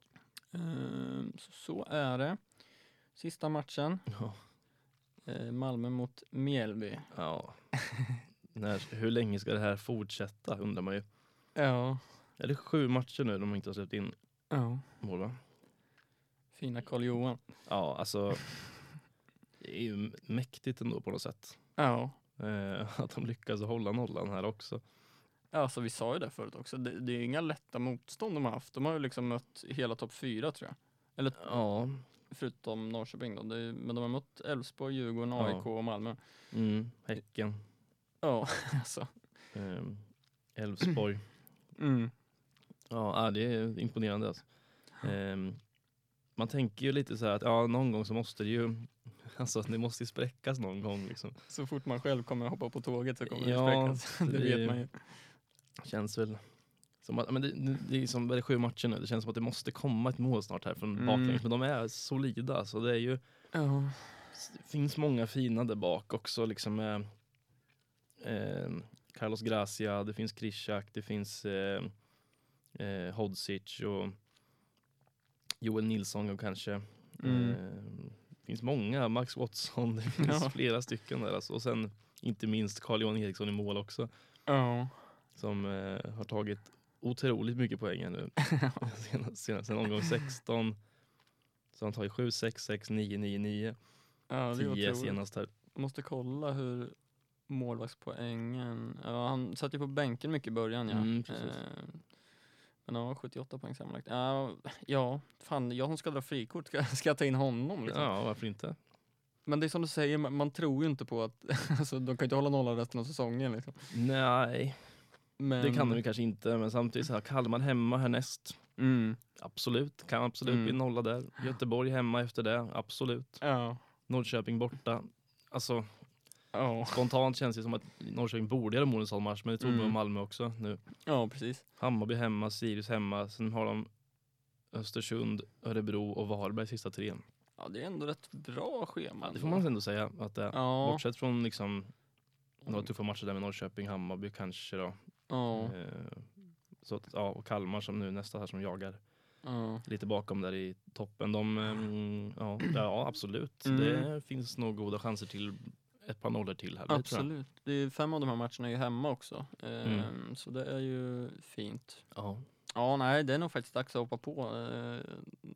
[SPEAKER 3] Ehm, så, så är det. Sista matchen,
[SPEAKER 2] Ja.
[SPEAKER 3] eh, Malmö mot Mjällby.
[SPEAKER 2] ja. När, hur länge ska det här fortsätta undrar man ju.
[SPEAKER 3] Ja.
[SPEAKER 2] Är det sju matcher nu de inte har släppt in
[SPEAKER 3] ja.
[SPEAKER 2] mål va?
[SPEAKER 3] Fina Karl-Johan.
[SPEAKER 2] Ja, alltså. Det är ju mäktigt ändå på något sätt.
[SPEAKER 3] Ja.
[SPEAKER 2] Eh, att de lyckas hålla nollan här också.
[SPEAKER 3] Alltså vi sa ju det förut också, det, det är ju inga lätta motstånd de har haft. De har ju liksom mött hela topp fyra tror jag.
[SPEAKER 2] Ja,
[SPEAKER 3] Förutom Norrköping då, det är, men de har mött Elfsborg, Djurgården,
[SPEAKER 2] Ja.
[SPEAKER 3] AIK och Malmö.
[SPEAKER 2] mm, Häcken,
[SPEAKER 3] Ja, alltså.
[SPEAKER 2] ehm, Elfsborg.
[SPEAKER 3] Mm.
[SPEAKER 2] Ja, ja, det är imponerande alltså. Ehm, man tänker ju lite så här att ja, någon gång så måste det ju, alltså det måste ju spräckas någon gång liksom.
[SPEAKER 3] Så fort man själv kommer att hoppa på tåget så kommer
[SPEAKER 2] Ja,
[SPEAKER 3] det spräckas. Det
[SPEAKER 2] det-
[SPEAKER 3] vet man ju.
[SPEAKER 2] Känns väl som att, men det, det- det är som, det är sju matcher nu, det känns som att det måste komma ett mål snart här från
[SPEAKER 3] Mm.
[SPEAKER 2] baklänges. Men de är solida så det är ju,
[SPEAKER 3] Ja.
[SPEAKER 2] det finns många fina där bak också liksom med eh, Carlos Gracia, det finns Krishak, det finns eh, eh, Hodzic och Joel Nilsson och kanske.
[SPEAKER 3] Mm.
[SPEAKER 2] Eh, finns många, Max Watson, det finns
[SPEAKER 3] Ja.
[SPEAKER 2] flera stycken där. Alltså. Och sen inte minst Carl-Johan Eriksson i mål också,
[SPEAKER 3] Ja.
[SPEAKER 2] som eh, har tagit otroligt mycket poäng här nu. senast, senast, sen omgång 16, så han tar ju 7, 6, 6, 9, 9, 9,
[SPEAKER 3] ja, det är
[SPEAKER 2] 10
[SPEAKER 3] otroligt.
[SPEAKER 2] senast här.
[SPEAKER 3] Måste kolla hur målvaktspoängen, ja, han satt ju på bänken mycket i början ja.
[SPEAKER 2] Mm, precis.
[SPEAKER 3] Ehm, men ja, 78 poäng sammanlagt. Ja, ja, fan, jag som ska dra frikort, ska, ska jag ta in honom liksom?
[SPEAKER 2] Ja, varför inte?
[SPEAKER 3] Men det är som du säger, man, man tror ju inte på att alltså, de kan ju inte hålla nollan resten av säsongen. Liksom.
[SPEAKER 2] Nej,
[SPEAKER 3] Men,
[SPEAKER 2] det kan de ju kanske inte, men samtidigt så här, Kalmar hemma härnäst.
[SPEAKER 3] Mm,
[SPEAKER 2] Absolut, kan absolut
[SPEAKER 3] Mm.
[SPEAKER 2] bli nolla där. Göteborg hemma efter det, absolut.
[SPEAKER 3] ja,
[SPEAKER 2] Norrköping borta. Alltså,
[SPEAKER 3] ja,
[SPEAKER 2] Spontant känns det som att Norrköping borde göra mål i en sån match, men det tror man
[SPEAKER 3] Mm.
[SPEAKER 2] om Malmö också nu.
[SPEAKER 3] ja, precis.
[SPEAKER 2] Hammarby hemma, Sirius hemma, sen har de Östersund, Örebro och Varberg sista tre.
[SPEAKER 3] Ja, det är ändå rätt bra schema. alltså.
[SPEAKER 2] Det får man ändå säga att det är.
[SPEAKER 3] Ja,
[SPEAKER 2] Bortsett från liksom några tuffa matcher där med Norrköping, Hammarby kanske då.
[SPEAKER 3] ja,
[SPEAKER 2] Eh, Så att, ja, och Kalmar som nu nästa här som jagar
[SPEAKER 3] ja.
[SPEAKER 2] lite bakom där i toppen. De, ehm, ja, ja, absolut.
[SPEAKER 3] Mm.
[SPEAKER 2] Det finns nog goda chanser till ett par nollor till här. det tror jag.
[SPEAKER 3] Absolut. Det är fem av de här matcherna är ju hemma också.
[SPEAKER 2] Mm.
[SPEAKER 3] Ehm, Så det är ju fint.
[SPEAKER 2] Ja.
[SPEAKER 3] Ja, nej, det är nog faktiskt dags att hoppa på eh,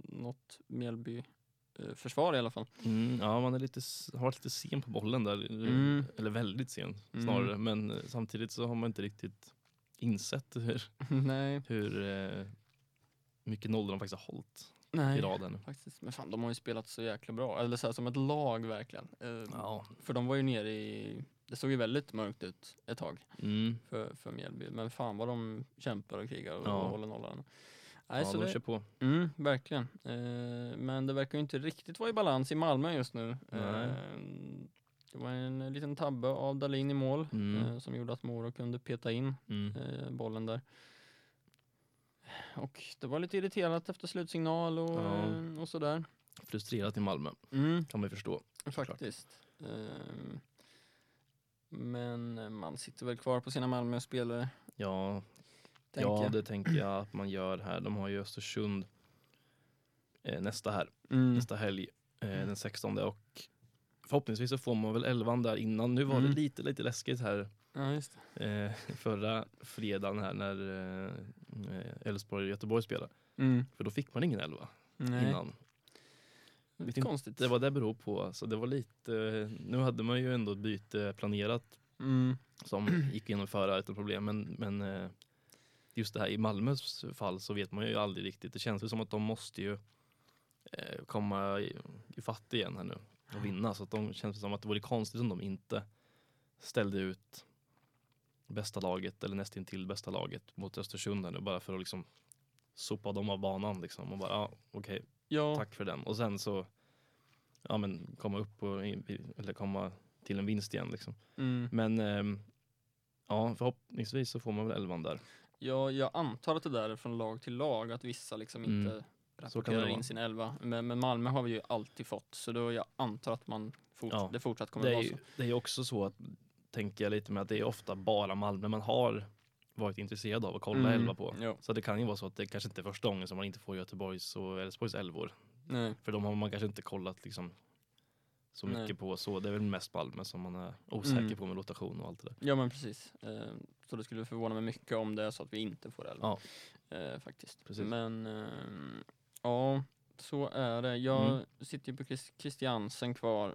[SPEAKER 3] något Mjällby-försvar i alla fall.
[SPEAKER 2] Mm, ja, man är lite, s- har varit lite sen på bollen där. eh,
[SPEAKER 3] Mm.
[SPEAKER 2] Eller väldigt sen
[SPEAKER 3] Mm.
[SPEAKER 2] snarare. Men eh, samtidigt så har man inte riktigt insett hur,
[SPEAKER 3] nej,
[SPEAKER 2] hur eh, mycket nollor de faktiskt har hållit i
[SPEAKER 3] nej.
[SPEAKER 2] raden.
[SPEAKER 3] Faktiskt. Men fan, de har ju spelat så jäkla bra. Eller så här, som ett lag verkligen. Ehm,
[SPEAKER 2] Ja.
[SPEAKER 3] För de var ju nere i, det såg ju väldigt mörkt ut ett tag
[SPEAKER 2] Mm.
[SPEAKER 3] för, för Mjällby. Men fan vad de kämpar och krigar och,
[SPEAKER 2] Ja.
[SPEAKER 3] och håller nollan. Nej,
[SPEAKER 2] ja,
[SPEAKER 3] så
[SPEAKER 2] de
[SPEAKER 3] det,
[SPEAKER 2] kör på.
[SPEAKER 3] mm, verkligen. Eh, men det verkar ju inte riktigt vara i balans i Malmö just nu.
[SPEAKER 2] Nej.
[SPEAKER 3] Eh, det var en liten tabbe av Dalin i mål
[SPEAKER 2] Mm.
[SPEAKER 3] eh, som gjorde att Moro kunde peta in
[SPEAKER 2] Mm.
[SPEAKER 3] eh, bollen där. Och det var lite irriterat efter slutsignal och,
[SPEAKER 2] Ja.
[SPEAKER 3] eh, och sådär.
[SPEAKER 2] Frustrerat i Malmö,
[SPEAKER 3] Mm.
[SPEAKER 2] kan man ju förstå. såklart.
[SPEAKER 3] Faktiskt. Ehm, men man sitter väl kvar på sina Malmö-spelare,
[SPEAKER 2] Ja,
[SPEAKER 3] tänker
[SPEAKER 2] ja
[SPEAKER 3] jag.
[SPEAKER 2] det tänker jag att man gör här. De har ju Östersund eh, nästa här,
[SPEAKER 3] Mm.
[SPEAKER 2] nästa helg, eh, den 16 och förhoppningsvis så får man väl elvan där innan. Nu var
[SPEAKER 3] Mm.
[SPEAKER 2] det lite, lite läskigt här
[SPEAKER 3] Ja, just det.
[SPEAKER 2] eh, förra fredagen här när eh, Elfsborg och Göteborg spelade.
[SPEAKER 3] Mm.
[SPEAKER 2] För då fick man ingen elva
[SPEAKER 3] Nej.
[SPEAKER 2] innan. Vet inte
[SPEAKER 3] Konstigt.
[SPEAKER 2] det vad det beror på. Alltså, det var lite, nu hade man ju ändå ett byte planerat
[SPEAKER 3] mm.
[SPEAKER 2] som gick att genomföra utan problem. Men, men eh, just det här i Malmös fall så vet man ju aldrig riktigt. Det känns ju som att de måste ju eh, komma i- ifatt igen här nu och vinna. Så att de det känns som att det vore konstigt om de inte ställde ut bästa laget eller nästintill bästa laget mot Östersund här nu bara för att liksom sopa dem av banan liksom och bara ah, okej
[SPEAKER 3] Ja,
[SPEAKER 2] tack för den och sen så ja men komma upp och in- eller komma till en vinst igen liksom.
[SPEAKER 3] Mm.
[SPEAKER 2] Men ehm, ja, förhoppningsvis så får man väl elvan där.
[SPEAKER 3] Ja, jag antar att det där är från lag till lag, att vissa liksom
[SPEAKER 2] Mm.
[SPEAKER 3] inte
[SPEAKER 2] Så kan det
[SPEAKER 3] rapporterar
[SPEAKER 2] vara.
[SPEAKER 3] in sin elva. Men, men Malmö har vi ju alltid fått, så då jag antar att man fort,
[SPEAKER 2] Ja.
[SPEAKER 3] det fortsatt kommer
[SPEAKER 2] Det är,
[SPEAKER 3] vara så.
[SPEAKER 2] ju, det är ju också så att, tänker jag lite med, att det är ofta bara Malmö man har varit intresserad av att kolla
[SPEAKER 3] Mm.
[SPEAKER 2] elva på.
[SPEAKER 3] Ja.
[SPEAKER 2] Så det kan ju vara så att det kanske inte är första gången som man inte får Göteborgs och Elfsborgs elvor.
[SPEAKER 3] Nej.
[SPEAKER 2] För de har man kanske inte kollat liksom så
[SPEAKER 3] Nej.
[SPEAKER 2] mycket på så. Det är väl mest Malmö som man är osäker
[SPEAKER 3] Mm.
[SPEAKER 2] på med rotation och allt det där.
[SPEAKER 3] ja, men precis. Eh, Så det skulle förvåna mig mycket om det är så att vi inte får elva. Eh, Faktiskt.
[SPEAKER 2] Precis.
[SPEAKER 3] Men eh, ja, så är det. Jag
[SPEAKER 2] Mm.
[SPEAKER 3] sitter ju på Chris- Christiansen kvar.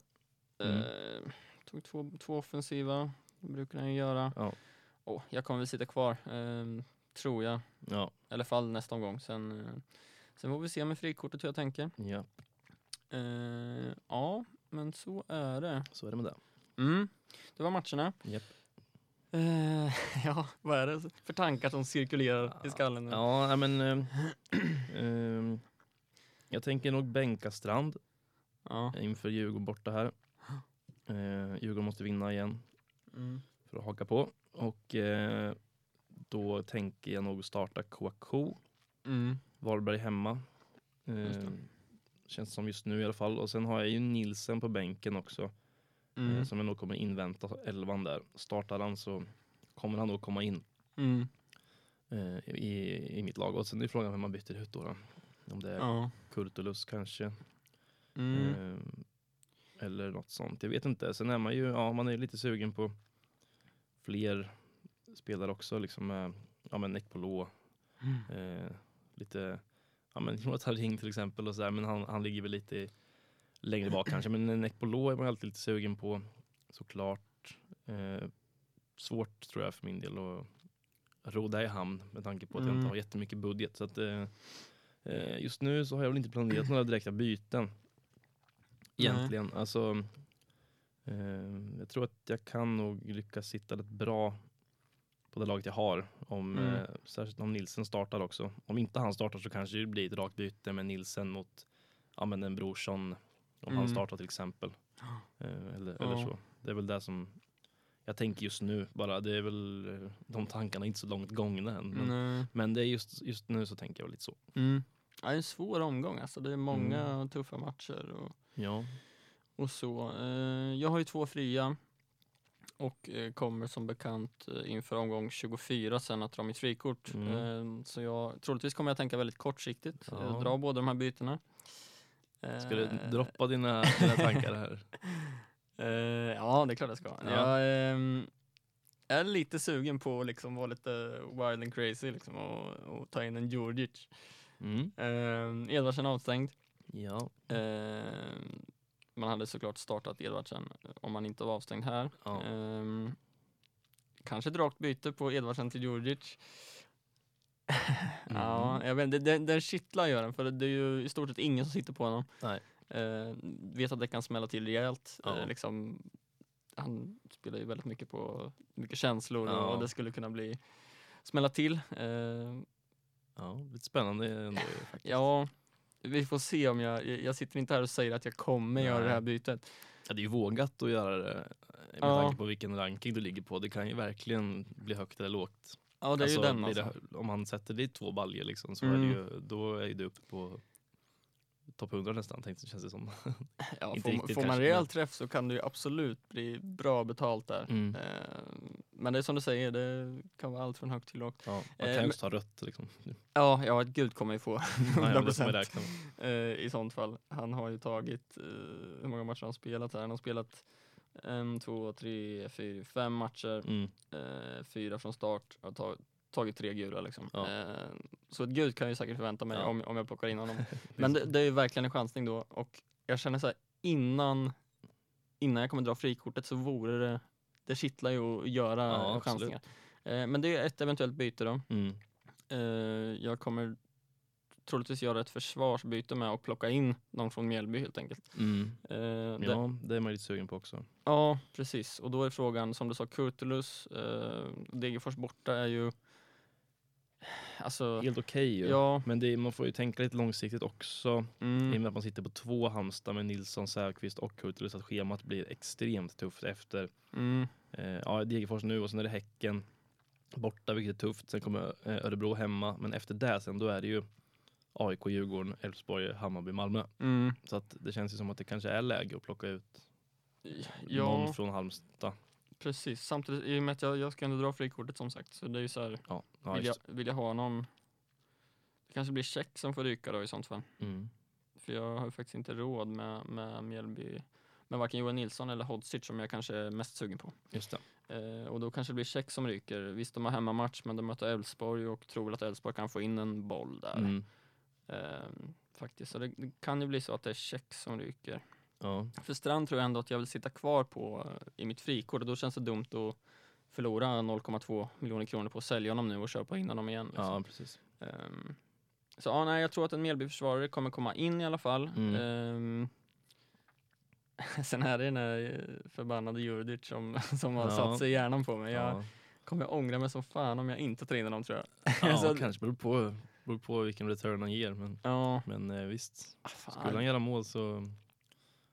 [SPEAKER 2] Mm.
[SPEAKER 3] Eh, Tog två, två offensiva, det brukar han ju göra.
[SPEAKER 2] Ja.
[SPEAKER 3] Åh, jag kommer väl sitta kvar, eh, tror jag.
[SPEAKER 2] Ja,
[SPEAKER 3] I alla fall nästa omgång. Sen, eh, sen får vi se med frikortet hur jag tänker.
[SPEAKER 2] ja
[SPEAKER 3] Eh, ja, men så är det.
[SPEAKER 2] så är det med det.
[SPEAKER 3] Mm. Det var matcherna.
[SPEAKER 2] Japp.
[SPEAKER 3] Eh, ja, vad är det för tankar som cirkulerar i skallen? nu?
[SPEAKER 2] Ja, nej, men ehm, ehm, jag tänker nog bänka Strand.
[SPEAKER 3] ja.
[SPEAKER 2] inför Djurgården borta här. Eh, Djurgården måste vinna igen
[SPEAKER 3] Mm.
[SPEAKER 2] för att haka på. Och eh, då tänker jag nog starta Kouakou,
[SPEAKER 3] Mm.
[SPEAKER 2] Varberg hemma.
[SPEAKER 3] Just
[SPEAKER 2] Eh,
[SPEAKER 3] det.
[SPEAKER 2] känns som just nu i alla fall. Och sen har jag ju Nilsen på bänken också, eh,
[SPEAKER 3] Mm.
[SPEAKER 2] som jag nog kommer invänta elvan där. Startar han så kommer han nog komma in
[SPEAKER 3] Mm.
[SPEAKER 2] eh, i, i mitt lag. Och sen är frågan vem man byter ut då. då. Om det är
[SPEAKER 3] Ja.
[SPEAKER 2] Kurtulus kanske.
[SPEAKER 3] Mm.
[SPEAKER 2] Ehm, Eller något sånt. Jag vet inte. Sen är man ju ja, man är lite sugen på fler spelare också. Liksom, eh, ja, men Ekpolo,
[SPEAKER 3] Mm.
[SPEAKER 2] eh, lite ja, men Jonathan Ring till exempel. Och så där, men han, han ligger väl lite i- längre bak kanske. Men en Ekpolo är man ju alltid lite sugen på såklart. Eh, svårt tror jag för min del att roda i hamn med tanke på att jag
[SPEAKER 3] Mm.
[SPEAKER 2] inte har jättemycket budget. Så att, eh, eh, just nu så har jag väl inte planerat några direkta byten. Egentligen. Alltså, eh, jag tror att jag kan nog lyckas sitta rätt bra på det laget jag har. Om,
[SPEAKER 3] Mm.
[SPEAKER 2] eh, särskilt om Nilsen startar också. Om inte han startar så kanske det blir ett rakt byte med Nilsen mot ja, men en Brorsson. Om
[SPEAKER 3] Mm.
[SPEAKER 2] han startar till exempel. Eh, eller, eller
[SPEAKER 3] Ja.
[SPEAKER 2] så. Det är väl det som jag tänker just nu. Bara, det är väl, eh, de tankarna är inte så långt gångna än. Men,
[SPEAKER 3] Nej.
[SPEAKER 2] men det är just, just nu så tänker jag lite så.
[SPEAKER 3] eh, Mm. Ja, det är en svår omgång alltså. Det är många
[SPEAKER 2] Mm.
[SPEAKER 3] tuffa matcher. Och...
[SPEAKER 2] Ja,
[SPEAKER 3] och så. Eh, jag har ju två fria och eh, kommer som bekant eh, inför omgång 24 sen att dra mitt frikort.
[SPEAKER 2] Mm.
[SPEAKER 3] Eh, så jag, troligtvis kommer jag tänka väldigt kortsiktigt,
[SPEAKER 2] Ja.
[SPEAKER 3] eh, dra båda de här bytena.
[SPEAKER 2] ska du
[SPEAKER 3] Eh,
[SPEAKER 2] droppa dina, dina tankar här?
[SPEAKER 3] Eh, ja, det är klart jag ska.
[SPEAKER 2] Ja.
[SPEAKER 3] Jag ehm, är lite sugen på att liksom vara lite wild and crazy liksom, och, och ta in en Djurdjic.
[SPEAKER 2] Mm.
[SPEAKER 3] Eh, Edvardsen avstängd.
[SPEAKER 2] Ja,
[SPEAKER 3] Eh, man hade såklart startat Edvardsen om man inte var avstängd här.
[SPEAKER 2] Ja.
[SPEAKER 3] Ehm, kanske ett rakt byte på Edvardsen till Djurdjic.
[SPEAKER 2] Mm.
[SPEAKER 3] Ja, jag vet, det, det, den kittlar gör den för det är ju i stort sett ingen som sitter på honom.
[SPEAKER 2] Nej.
[SPEAKER 3] Eh, vet att det kan smälla till rejält.
[SPEAKER 2] Ja.
[SPEAKER 3] Eh, liksom, han spelar ju väldigt mycket på mycket känslor
[SPEAKER 2] Ja.
[SPEAKER 3] och det skulle kunna bli smälla till. Eh,
[SPEAKER 2] ja, lite spännande ändå ju faktiskt.
[SPEAKER 3] ja, vi får se om jag, jag sitter inte här och säger att jag kommer göra
[SPEAKER 2] Nej.
[SPEAKER 3] det här bytet.
[SPEAKER 2] Ja, det är ju vågat att göra det eh, med
[SPEAKER 3] Ja.
[SPEAKER 2] tanke på vilken ranking du ligger på. Det kan ju verkligen bli högt eller lågt.
[SPEAKER 3] Ja, det är ju den
[SPEAKER 2] blir
[SPEAKER 3] alltså.
[SPEAKER 2] det, om han sätter dit två baljer liksom, så
[SPEAKER 3] Mm.
[SPEAKER 2] är det ju, då är ju du uppe på topp 100 nästan, tänkte, känns det som.
[SPEAKER 3] Ja,
[SPEAKER 2] Inte
[SPEAKER 3] får,
[SPEAKER 2] riktigt
[SPEAKER 3] får man
[SPEAKER 2] kanske,
[SPEAKER 3] rejäl
[SPEAKER 2] men-
[SPEAKER 3] träff så kan det ju absolut bli bra betalt där.
[SPEAKER 2] Mm.
[SPEAKER 3] Eh, Men det är som du säger, det kan vara allt från högt till lågt.
[SPEAKER 2] Ja, man
[SPEAKER 3] Eh,
[SPEAKER 2] kan ju
[SPEAKER 3] men-
[SPEAKER 2] också ta rött liksom.
[SPEAKER 3] Ja, ja ett gult kommer ju få
[SPEAKER 2] Ja, ja, det får man
[SPEAKER 3] 100%
[SPEAKER 2] räkna med.
[SPEAKER 3] eh, i sånt fall. Han har ju tagit, eh, hur många matcher har han spelat här? Han har spelat en, två, tre, fyra, fem matcher.
[SPEAKER 2] Mm.
[SPEAKER 3] Eh, fyra från start och tag, tagit tre gula liksom.
[SPEAKER 2] Ja.
[SPEAKER 3] Eh, så ett gult kan jag ju säkert förvänta mig
[SPEAKER 2] Ja.
[SPEAKER 3] om, om jag plockar in honom.
[SPEAKER 2] Det är
[SPEAKER 3] Men
[SPEAKER 2] så.
[SPEAKER 3] det, det är ju verkligen en chansning då och jag känner så här, innan, innan jag kommer dra frikortet så vore det, det kittlar ju att göra
[SPEAKER 2] Ja, absolut.
[SPEAKER 3] chansningar. Eh, men det är ett eventuellt byte då.
[SPEAKER 2] Mm.
[SPEAKER 3] Eh, jag kommer troligtvis göra ett försvarsbyte med att plocka in någon från Mjällby helt enkelt.
[SPEAKER 2] Mm.
[SPEAKER 3] Eh, det-
[SPEAKER 2] Ja, det är man ju lite sugen på också.
[SPEAKER 3] Ja, precis. Och då är frågan, som du sa, Kurtulus, eh, Degerfors borta är ju... Alltså,
[SPEAKER 2] Helt okej ju.
[SPEAKER 3] ja.
[SPEAKER 2] Men det, är- man får ju tänka lite långsiktigt också. I och
[SPEAKER 3] Mm,
[SPEAKER 2] med att man sitter på två Halmstad med Nilsson, Säfqvist och Kurtulus. Att schemat blir extremt tufft efter
[SPEAKER 3] mm,
[SPEAKER 2] eh, ja, Degerfors nu och sen är det Häcken borta, vilket är tufft. Sen kommer eh, Örebro hemma. Men efter det sen, då är det ju AIK, Djurgården, Elfsborg, Hammarby, Malmö.
[SPEAKER 3] mm.
[SPEAKER 2] Så att det känns ju som att det kanske är läge att plocka ut någon
[SPEAKER 3] Ja,
[SPEAKER 2] från Halmstad.
[SPEAKER 3] precis. Samtidigt, i och med att jag, jag ska ändå dra frikortet som sagt, så det är ju så här,
[SPEAKER 2] Ja, ja
[SPEAKER 3] vill
[SPEAKER 2] just.
[SPEAKER 3] jag, vill jag ha någon... Det kanske blir check som får ryka då i sånt fall.
[SPEAKER 2] Mm.
[SPEAKER 3] För jag har ju faktiskt inte råd med, med Mjällby, med varken Johan Nilsson eller Hodzic som jag kanske är mest sugen på.
[SPEAKER 2] just det.
[SPEAKER 3] Eh, och då kanske det blir Tjeck som ryker. Visst, de har hemmamatch, men de möter Elfsborg och tror väl att Elfsborg kan få in en boll där.
[SPEAKER 2] Mm.
[SPEAKER 3] Eh, faktiskt, så det, det kan ju bli så att det är Tjeck som ryker.
[SPEAKER 2] Ja.
[SPEAKER 3] För Strand tror jag ändå att jag vill sitta kvar på eh, i mitt frikort och då känns det dumt att förlora 0,2 miljoner kronor på att sälja honom nu och köpa in honom igen. liksom.
[SPEAKER 2] ja, precis.
[SPEAKER 3] Ehm, så ja, nej, jag tror att en Mjällbyförsvarare kommer komma in i alla fall.
[SPEAKER 2] Mm.
[SPEAKER 3] Ehm, sen är det den här eh, förbannade Jurdic som, som har
[SPEAKER 2] Ja.
[SPEAKER 3] satt sig i hjärnan på mig. Jag
[SPEAKER 2] Ja.
[SPEAKER 3] kommer jag ångra mig som fan om jag inte tar in honom tror jag.
[SPEAKER 2] Ja,
[SPEAKER 3] Så-
[SPEAKER 2] kanske beror på, beror på vilken return han ger. Men,
[SPEAKER 3] Ja,
[SPEAKER 2] men eh, visst,
[SPEAKER 3] ah, fan.
[SPEAKER 2] skulle han göra mål så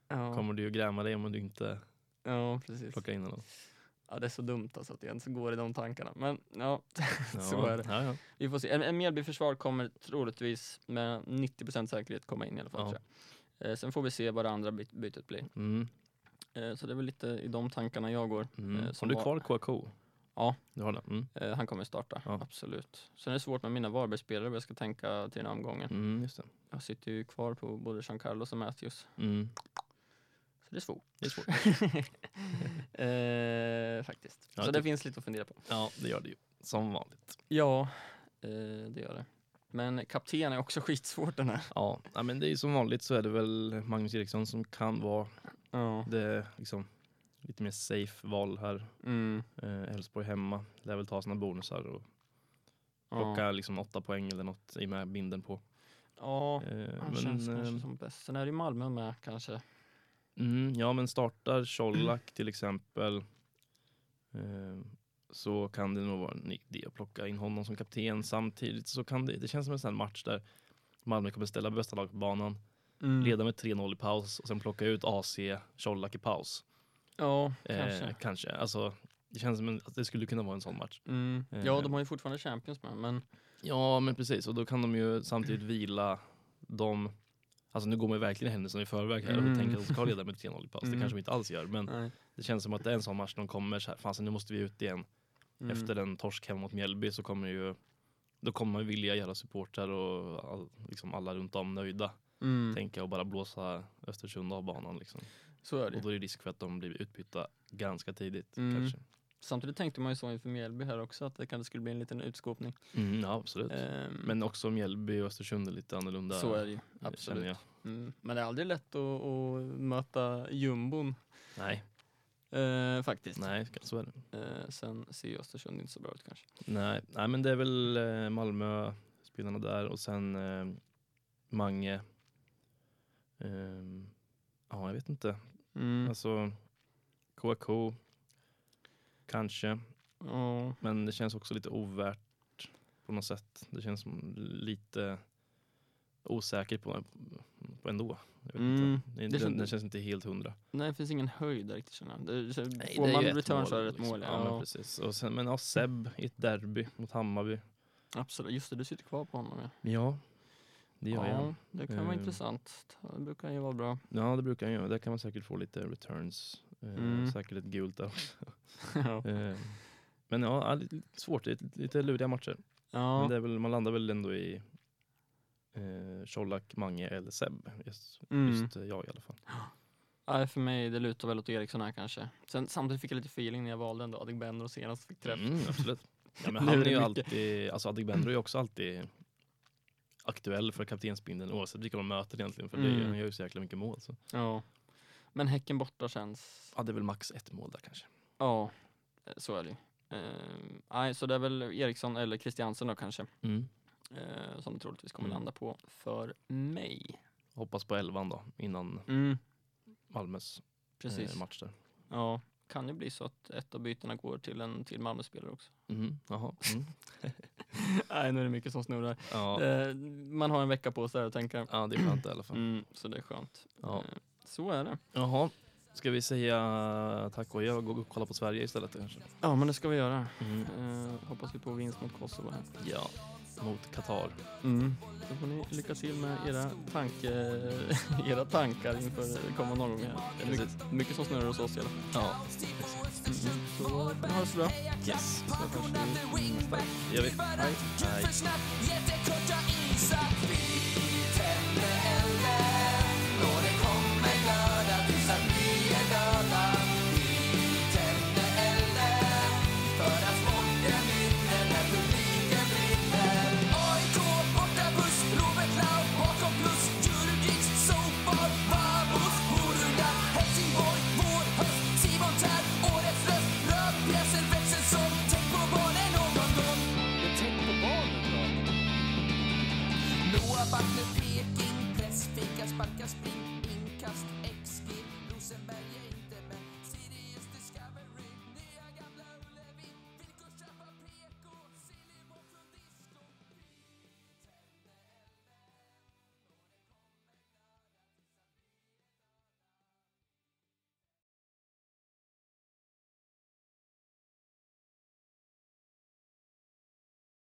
[SPEAKER 3] ja,
[SPEAKER 2] kommer du ju gräma dig om du inte
[SPEAKER 3] ja, precis.
[SPEAKER 2] plockar in honom.
[SPEAKER 3] Ja, det är så dumt alltså att jag ens går i de tankarna. Men ja,
[SPEAKER 2] Ja,
[SPEAKER 3] Så är det.
[SPEAKER 2] Ja, ja.
[SPEAKER 3] vi får se. En, en Mjällbyförsvar kommer troligtvis med 90% säkerhet komma in i alla fall.
[SPEAKER 2] Ja.
[SPEAKER 3] Tror jag. Eh, sen får vi se vad det andra by- bytet blir.
[SPEAKER 2] Mm,
[SPEAKER 3] Eh, så det är väl lite i de tankarna jag går. Eh,
[SPEAKER 2] mm.
[SPEAKER 3] som
[SPEAKER 2] Som du
[SPEAKER 3] var-
[SPEAKER 2] kvar KK?
[SPEAKER 3] Ja.
[SPEAKER 2] Du har det? Mm.
[SPEAKER 3] Eh, han kommer starta,
[SPEAKER 2] Ja.
[SPEAKER 3] absolut. Sen är det svårt med mina Varbergsspelare vad jag ska tänka till den här omgången.
[SPEAKER 2] Mm, just det.
[SPEAKER 3] Jag sitter ju kvar på både Jean Carlos och Matthews.
[SPEAKER 2] Mm.
[SPEAKER 3] Så det är svårt.
[SPEAKER 2] Det är svårt.
[SPEAKER 3] eh, faktiskt.
[SPEAKER 2] Ja, typ.
[SPEAKER 3] så
[SPEAKER 2] det-
[SPEAKER 3] det finns lite att fundera på.
[SPEAKER 2] Ja, det gör det ju. Som vanligt.
[SPEAKER 3] Ja, eh, det gör det. Men kapten är också skitsvårt den här.
[SPEAKER 2] Ja, ja, men det är ju som vanligt så är det väl Magnus Eriksson som kan vara
[SPEAKER 3] Ja.
[SPEAKER 2] det liksom lite mer safe val här.
[SPEAKER 3] Mm.
[SPEAKER 2] Eh, Elfsborg hemma lär väl ta sina bonusar och plocka
[SPEAKER 3] Ja.
[SPEAKER 2] liksom åtta poäng eller något i och med binden på.
[SPEAKER 3] ja,
[SPEAKER 2] Eh,
[SPEAKER 3] han känns
[SPEAKER 2] men,
[SPEAKER 3] kanske
[SPEAKER 2] eh,
[SPEAKER 3] som bäst. Sen är det ju Malmö med kanske.
[SPEAKER 2] mm, ja, men startar Colak till exempel eh, så kan det nog vara en idé att plocka in honom som kapten. Samtidigt så kan det, det känns som en sån här match där Malmö kommer ställa bästa lag på banan, leda med 3-0 i paus och sen plocka ut AC Colak i paus.
[SPEAKER 3] Ja,
[SPEAKER 2] Eh,
[SPEAKER 3] kanske.
[SPEAKER 2] kanske. Alltså, det känns som en, att det skulle kunna vara en sån match.
[SPEAKER 3] Mm. Ja,
[SPEAKER 2] Eh.
[SPEAKER 3] de har ju fortfarande Champions med, men
[SPEAKER 2] Mm. Ja, men precis. Och då kan de ju samtidigt vila de... Alltså nu går man ju verkligen händelserna i förväg här
[SPEAKER 3] Mm.
[SPEAKER 2] och tänker att de ska leda med 3-0 i paus.
[SPEAKER 3] Mm.
[SPEAKER 2] Det kanske de inte alls gör. Men
[SPEAKER 3] nej.
[SPEAKER 2] det känns som att det är en sån match de kommer så här, fan så nu måste vi ut igen.
[SPEAKER 3] Mm.
[SPEAKER 2] Efter en torsk hemma mot Mjällby så kommer ju, då kommer man ju vilja göra supportrar och all, liksom alla runt om nöjda.
[SPEAKER 3] Mm.
[SPEAKER 2] Tänka och bara blåsa Östersund av banan liksom.
[SPEAKER 3] Så är det
[SPEAKER 2] Och
[SPEAKER 3] ju.
[SPEAKER 2] då är det risk för att de blir utbytta ganska tidigt
[SPEAKER 3] Mm.
[SPEAKER 2] kanske.
[SPEAKER 3] Samtidigt tänkte man ju så inför Mjällby här också, att det kanske skulle bli en liten utskåpning.
[SPEAKER 2] Mm, ja, absolut.
[SPEAKER 3] Ehm,
[SPEAKER 2] Men också Mjällby och Östersund är lite annorlunda.
[SPEAKER 3] så är det ju,
[SPEAKER 2] känner
[SPEAKER 3] absolut.
[SPEAKER 2] jag.
[SPEAKER 3] Mm. Men det är aldrig lätt att, att möta jumbon,
[SPEAKER 2] Nej,
[SPEAKER 3] eh, faktiskt.
[SPEAKER 2] nej, så är det.
[SPEAKER 3] Eh, sen ser ju Östersund inte så bra ut kanske.
[SPEAKER 2] Nej, nej men det är väl eh, Malmö, spelarna där och sen eh, Mange. Ehm, ja, jag vet inte.
[SPEAKER 3] Mm.
[SPEAKER 2] Alltså KK kanske,
[SPEAKER 3] Ja.
[SPEAKER 2] men det känns också lite ovärt på något sätt. Det känns som lite osäkert på, på ändå. Jag vet
[SPEAKER 3] Mm,
[SPEAKER 2] inte. Det,
[SPEAKER 3] det
[SPEAKER 2] den,
[SPEAKER 3] känns-
[SPEAKER 2] den känns inte helt hundra.
[SPEAKER 3] Nej, det finns ingen höjd där riktigt känner jag. Det, så,
[SPEAKER 2] Nej,
[SPEAKER 3] får
[SPEAKER 2] det är
[SPEAKER 3] man
[SPEAKER 2] ju ett
[SPEAKER 3] return så är det ett
[SPEAKER 2] liksom.
[SPEAKER 3] mål.
[SPEAKER 2] Ja,
[SPEAKER 3] Ja,
[SPEAKER 2] Men, precis. Och sen, men ja, Seb i ett derby mot Hammarby.
[SPEAKER 3] absolut. Just det, du sitter kvar på honom. Ja,
[SPEAKER 2] Ja, det gör jag.
[SPEAKER 3] ja det kan vara
[SPEAKER 2] Eh.
[SPEAKER 3] intressant. Det brukar ju vara bra.
[SPEAKER 2] Ja, det brukar jag göra. Där kan man säkert få lite returns. Eh,
[SPEAKER 3] Mm.
[SPEAKER 2] Säkert ett gult där också.
[SPEAKER 3] ja.
[SPEAKER 2] Eh, men ja, ja, lite lite svårt. Det är lite- lite luriga matcher. Men
[SPEAKER 3] Ja.
[SPEAKER 2] det är väl, man landar väl ändå i eh, Colak, Mange eller Seb. Just,
[SPEAKER 3] Mm.
[SPEAKER 2] just eh, jag i alla fall.
[SPEAKER 3] Ja, för mig det lutar väl åt Eriksson här kanske. Sen, samtidigt fick jag lite feeling när jag valde ändå Adegbenro senast fick träff.
[SPEAKER 2] Mm, absolut. Ja, men
[SPEAKER 3] Nu
[SPEAKER 2] han
[SPEAKER 3] är
[SPEAKER 2] är
[SPEAKER 3] det
[SPEAKER 2] ju
[SPEAKER 3] mycket.
[SPEAKER 2] alltid, alltså Adegbenro är ju också alltid aktuell för kaptensbindeln oavsett vilka de möter egentligen. För det,
[SPEAKER 3] Mm.
[SPEAKER 2] är- han gör ju så jäkla mycket mål. Så.
[SPEAKER 3] Ja. Men Häcken borta känns...
[SPEAKER 2] Ja, det är väl max ett mål där kanske.
[SPEAKER 3] Ja, så är det ju. Ehm, Nej, så det är väl Eriksson eller Christiansen då kanske.
[SPEAKER 2] Mm.
[SPEAKER 3] eh, som det troligtvis kommer
[SPEAKER 2] Mm.
[SPEAKER 3] landa på för mig.
[SPEAKER 2] Hoppas på elvan då innan
[SPEAKER 3] Mm,
[SPEAKER 2] Malmös
[SPEAKER 3] precis.
[SPEAKER 2] Eh, match där.
[SPEAKER 3] ja, kan ju bli så att ett av bytena går till en till Malmö-spelare också.
[SPEAKER 2] Mm. Jaha. Mm.
[SPEAKER 3] Nej, nu är det mycket som snurrar.
[SPEAKER 2] Ja.
[SPEAKER 3] Eh, man har en vecka på sig här och tänker.
[SPEAKER 2] ja, det är skönt i alla fall.
[SPEAKER 3] Mm, så det är skönt.
[SPEAKER 2] Ja.
[SPEAKER 3] Eh, så är det.
[SPEAKER 2] Jaha. Ska vi säga tack och adjö och gå och kolla på Sverige istället kanske?
[SPEAKER 3] Ja, men det ska vi göra.
[SPEAKER 2] Mm.
[SPEAKER 3] Eh, hoppas vi på vinst mot Kosovo här.
[SPEAKER 2] Ja, mot Qatar.
[SPEAKER 3] Mm. Då får ni lycka till med era, tanke, era tankar inför kommande omgångar. Det är mycket, mycket som snurrar hos oss i alla fall.
[SPEAKER 2] Ja,
[SPEAKER 3] Mm. Så ha det så bra.
[SPEAKER 2] yes.
[SPEAKER 3] Så hörs vi nästa vecka.
[SPEAKER 2] Det gör vi. Hej.
[SPEAKER 1] För snabbt, jättekorta isar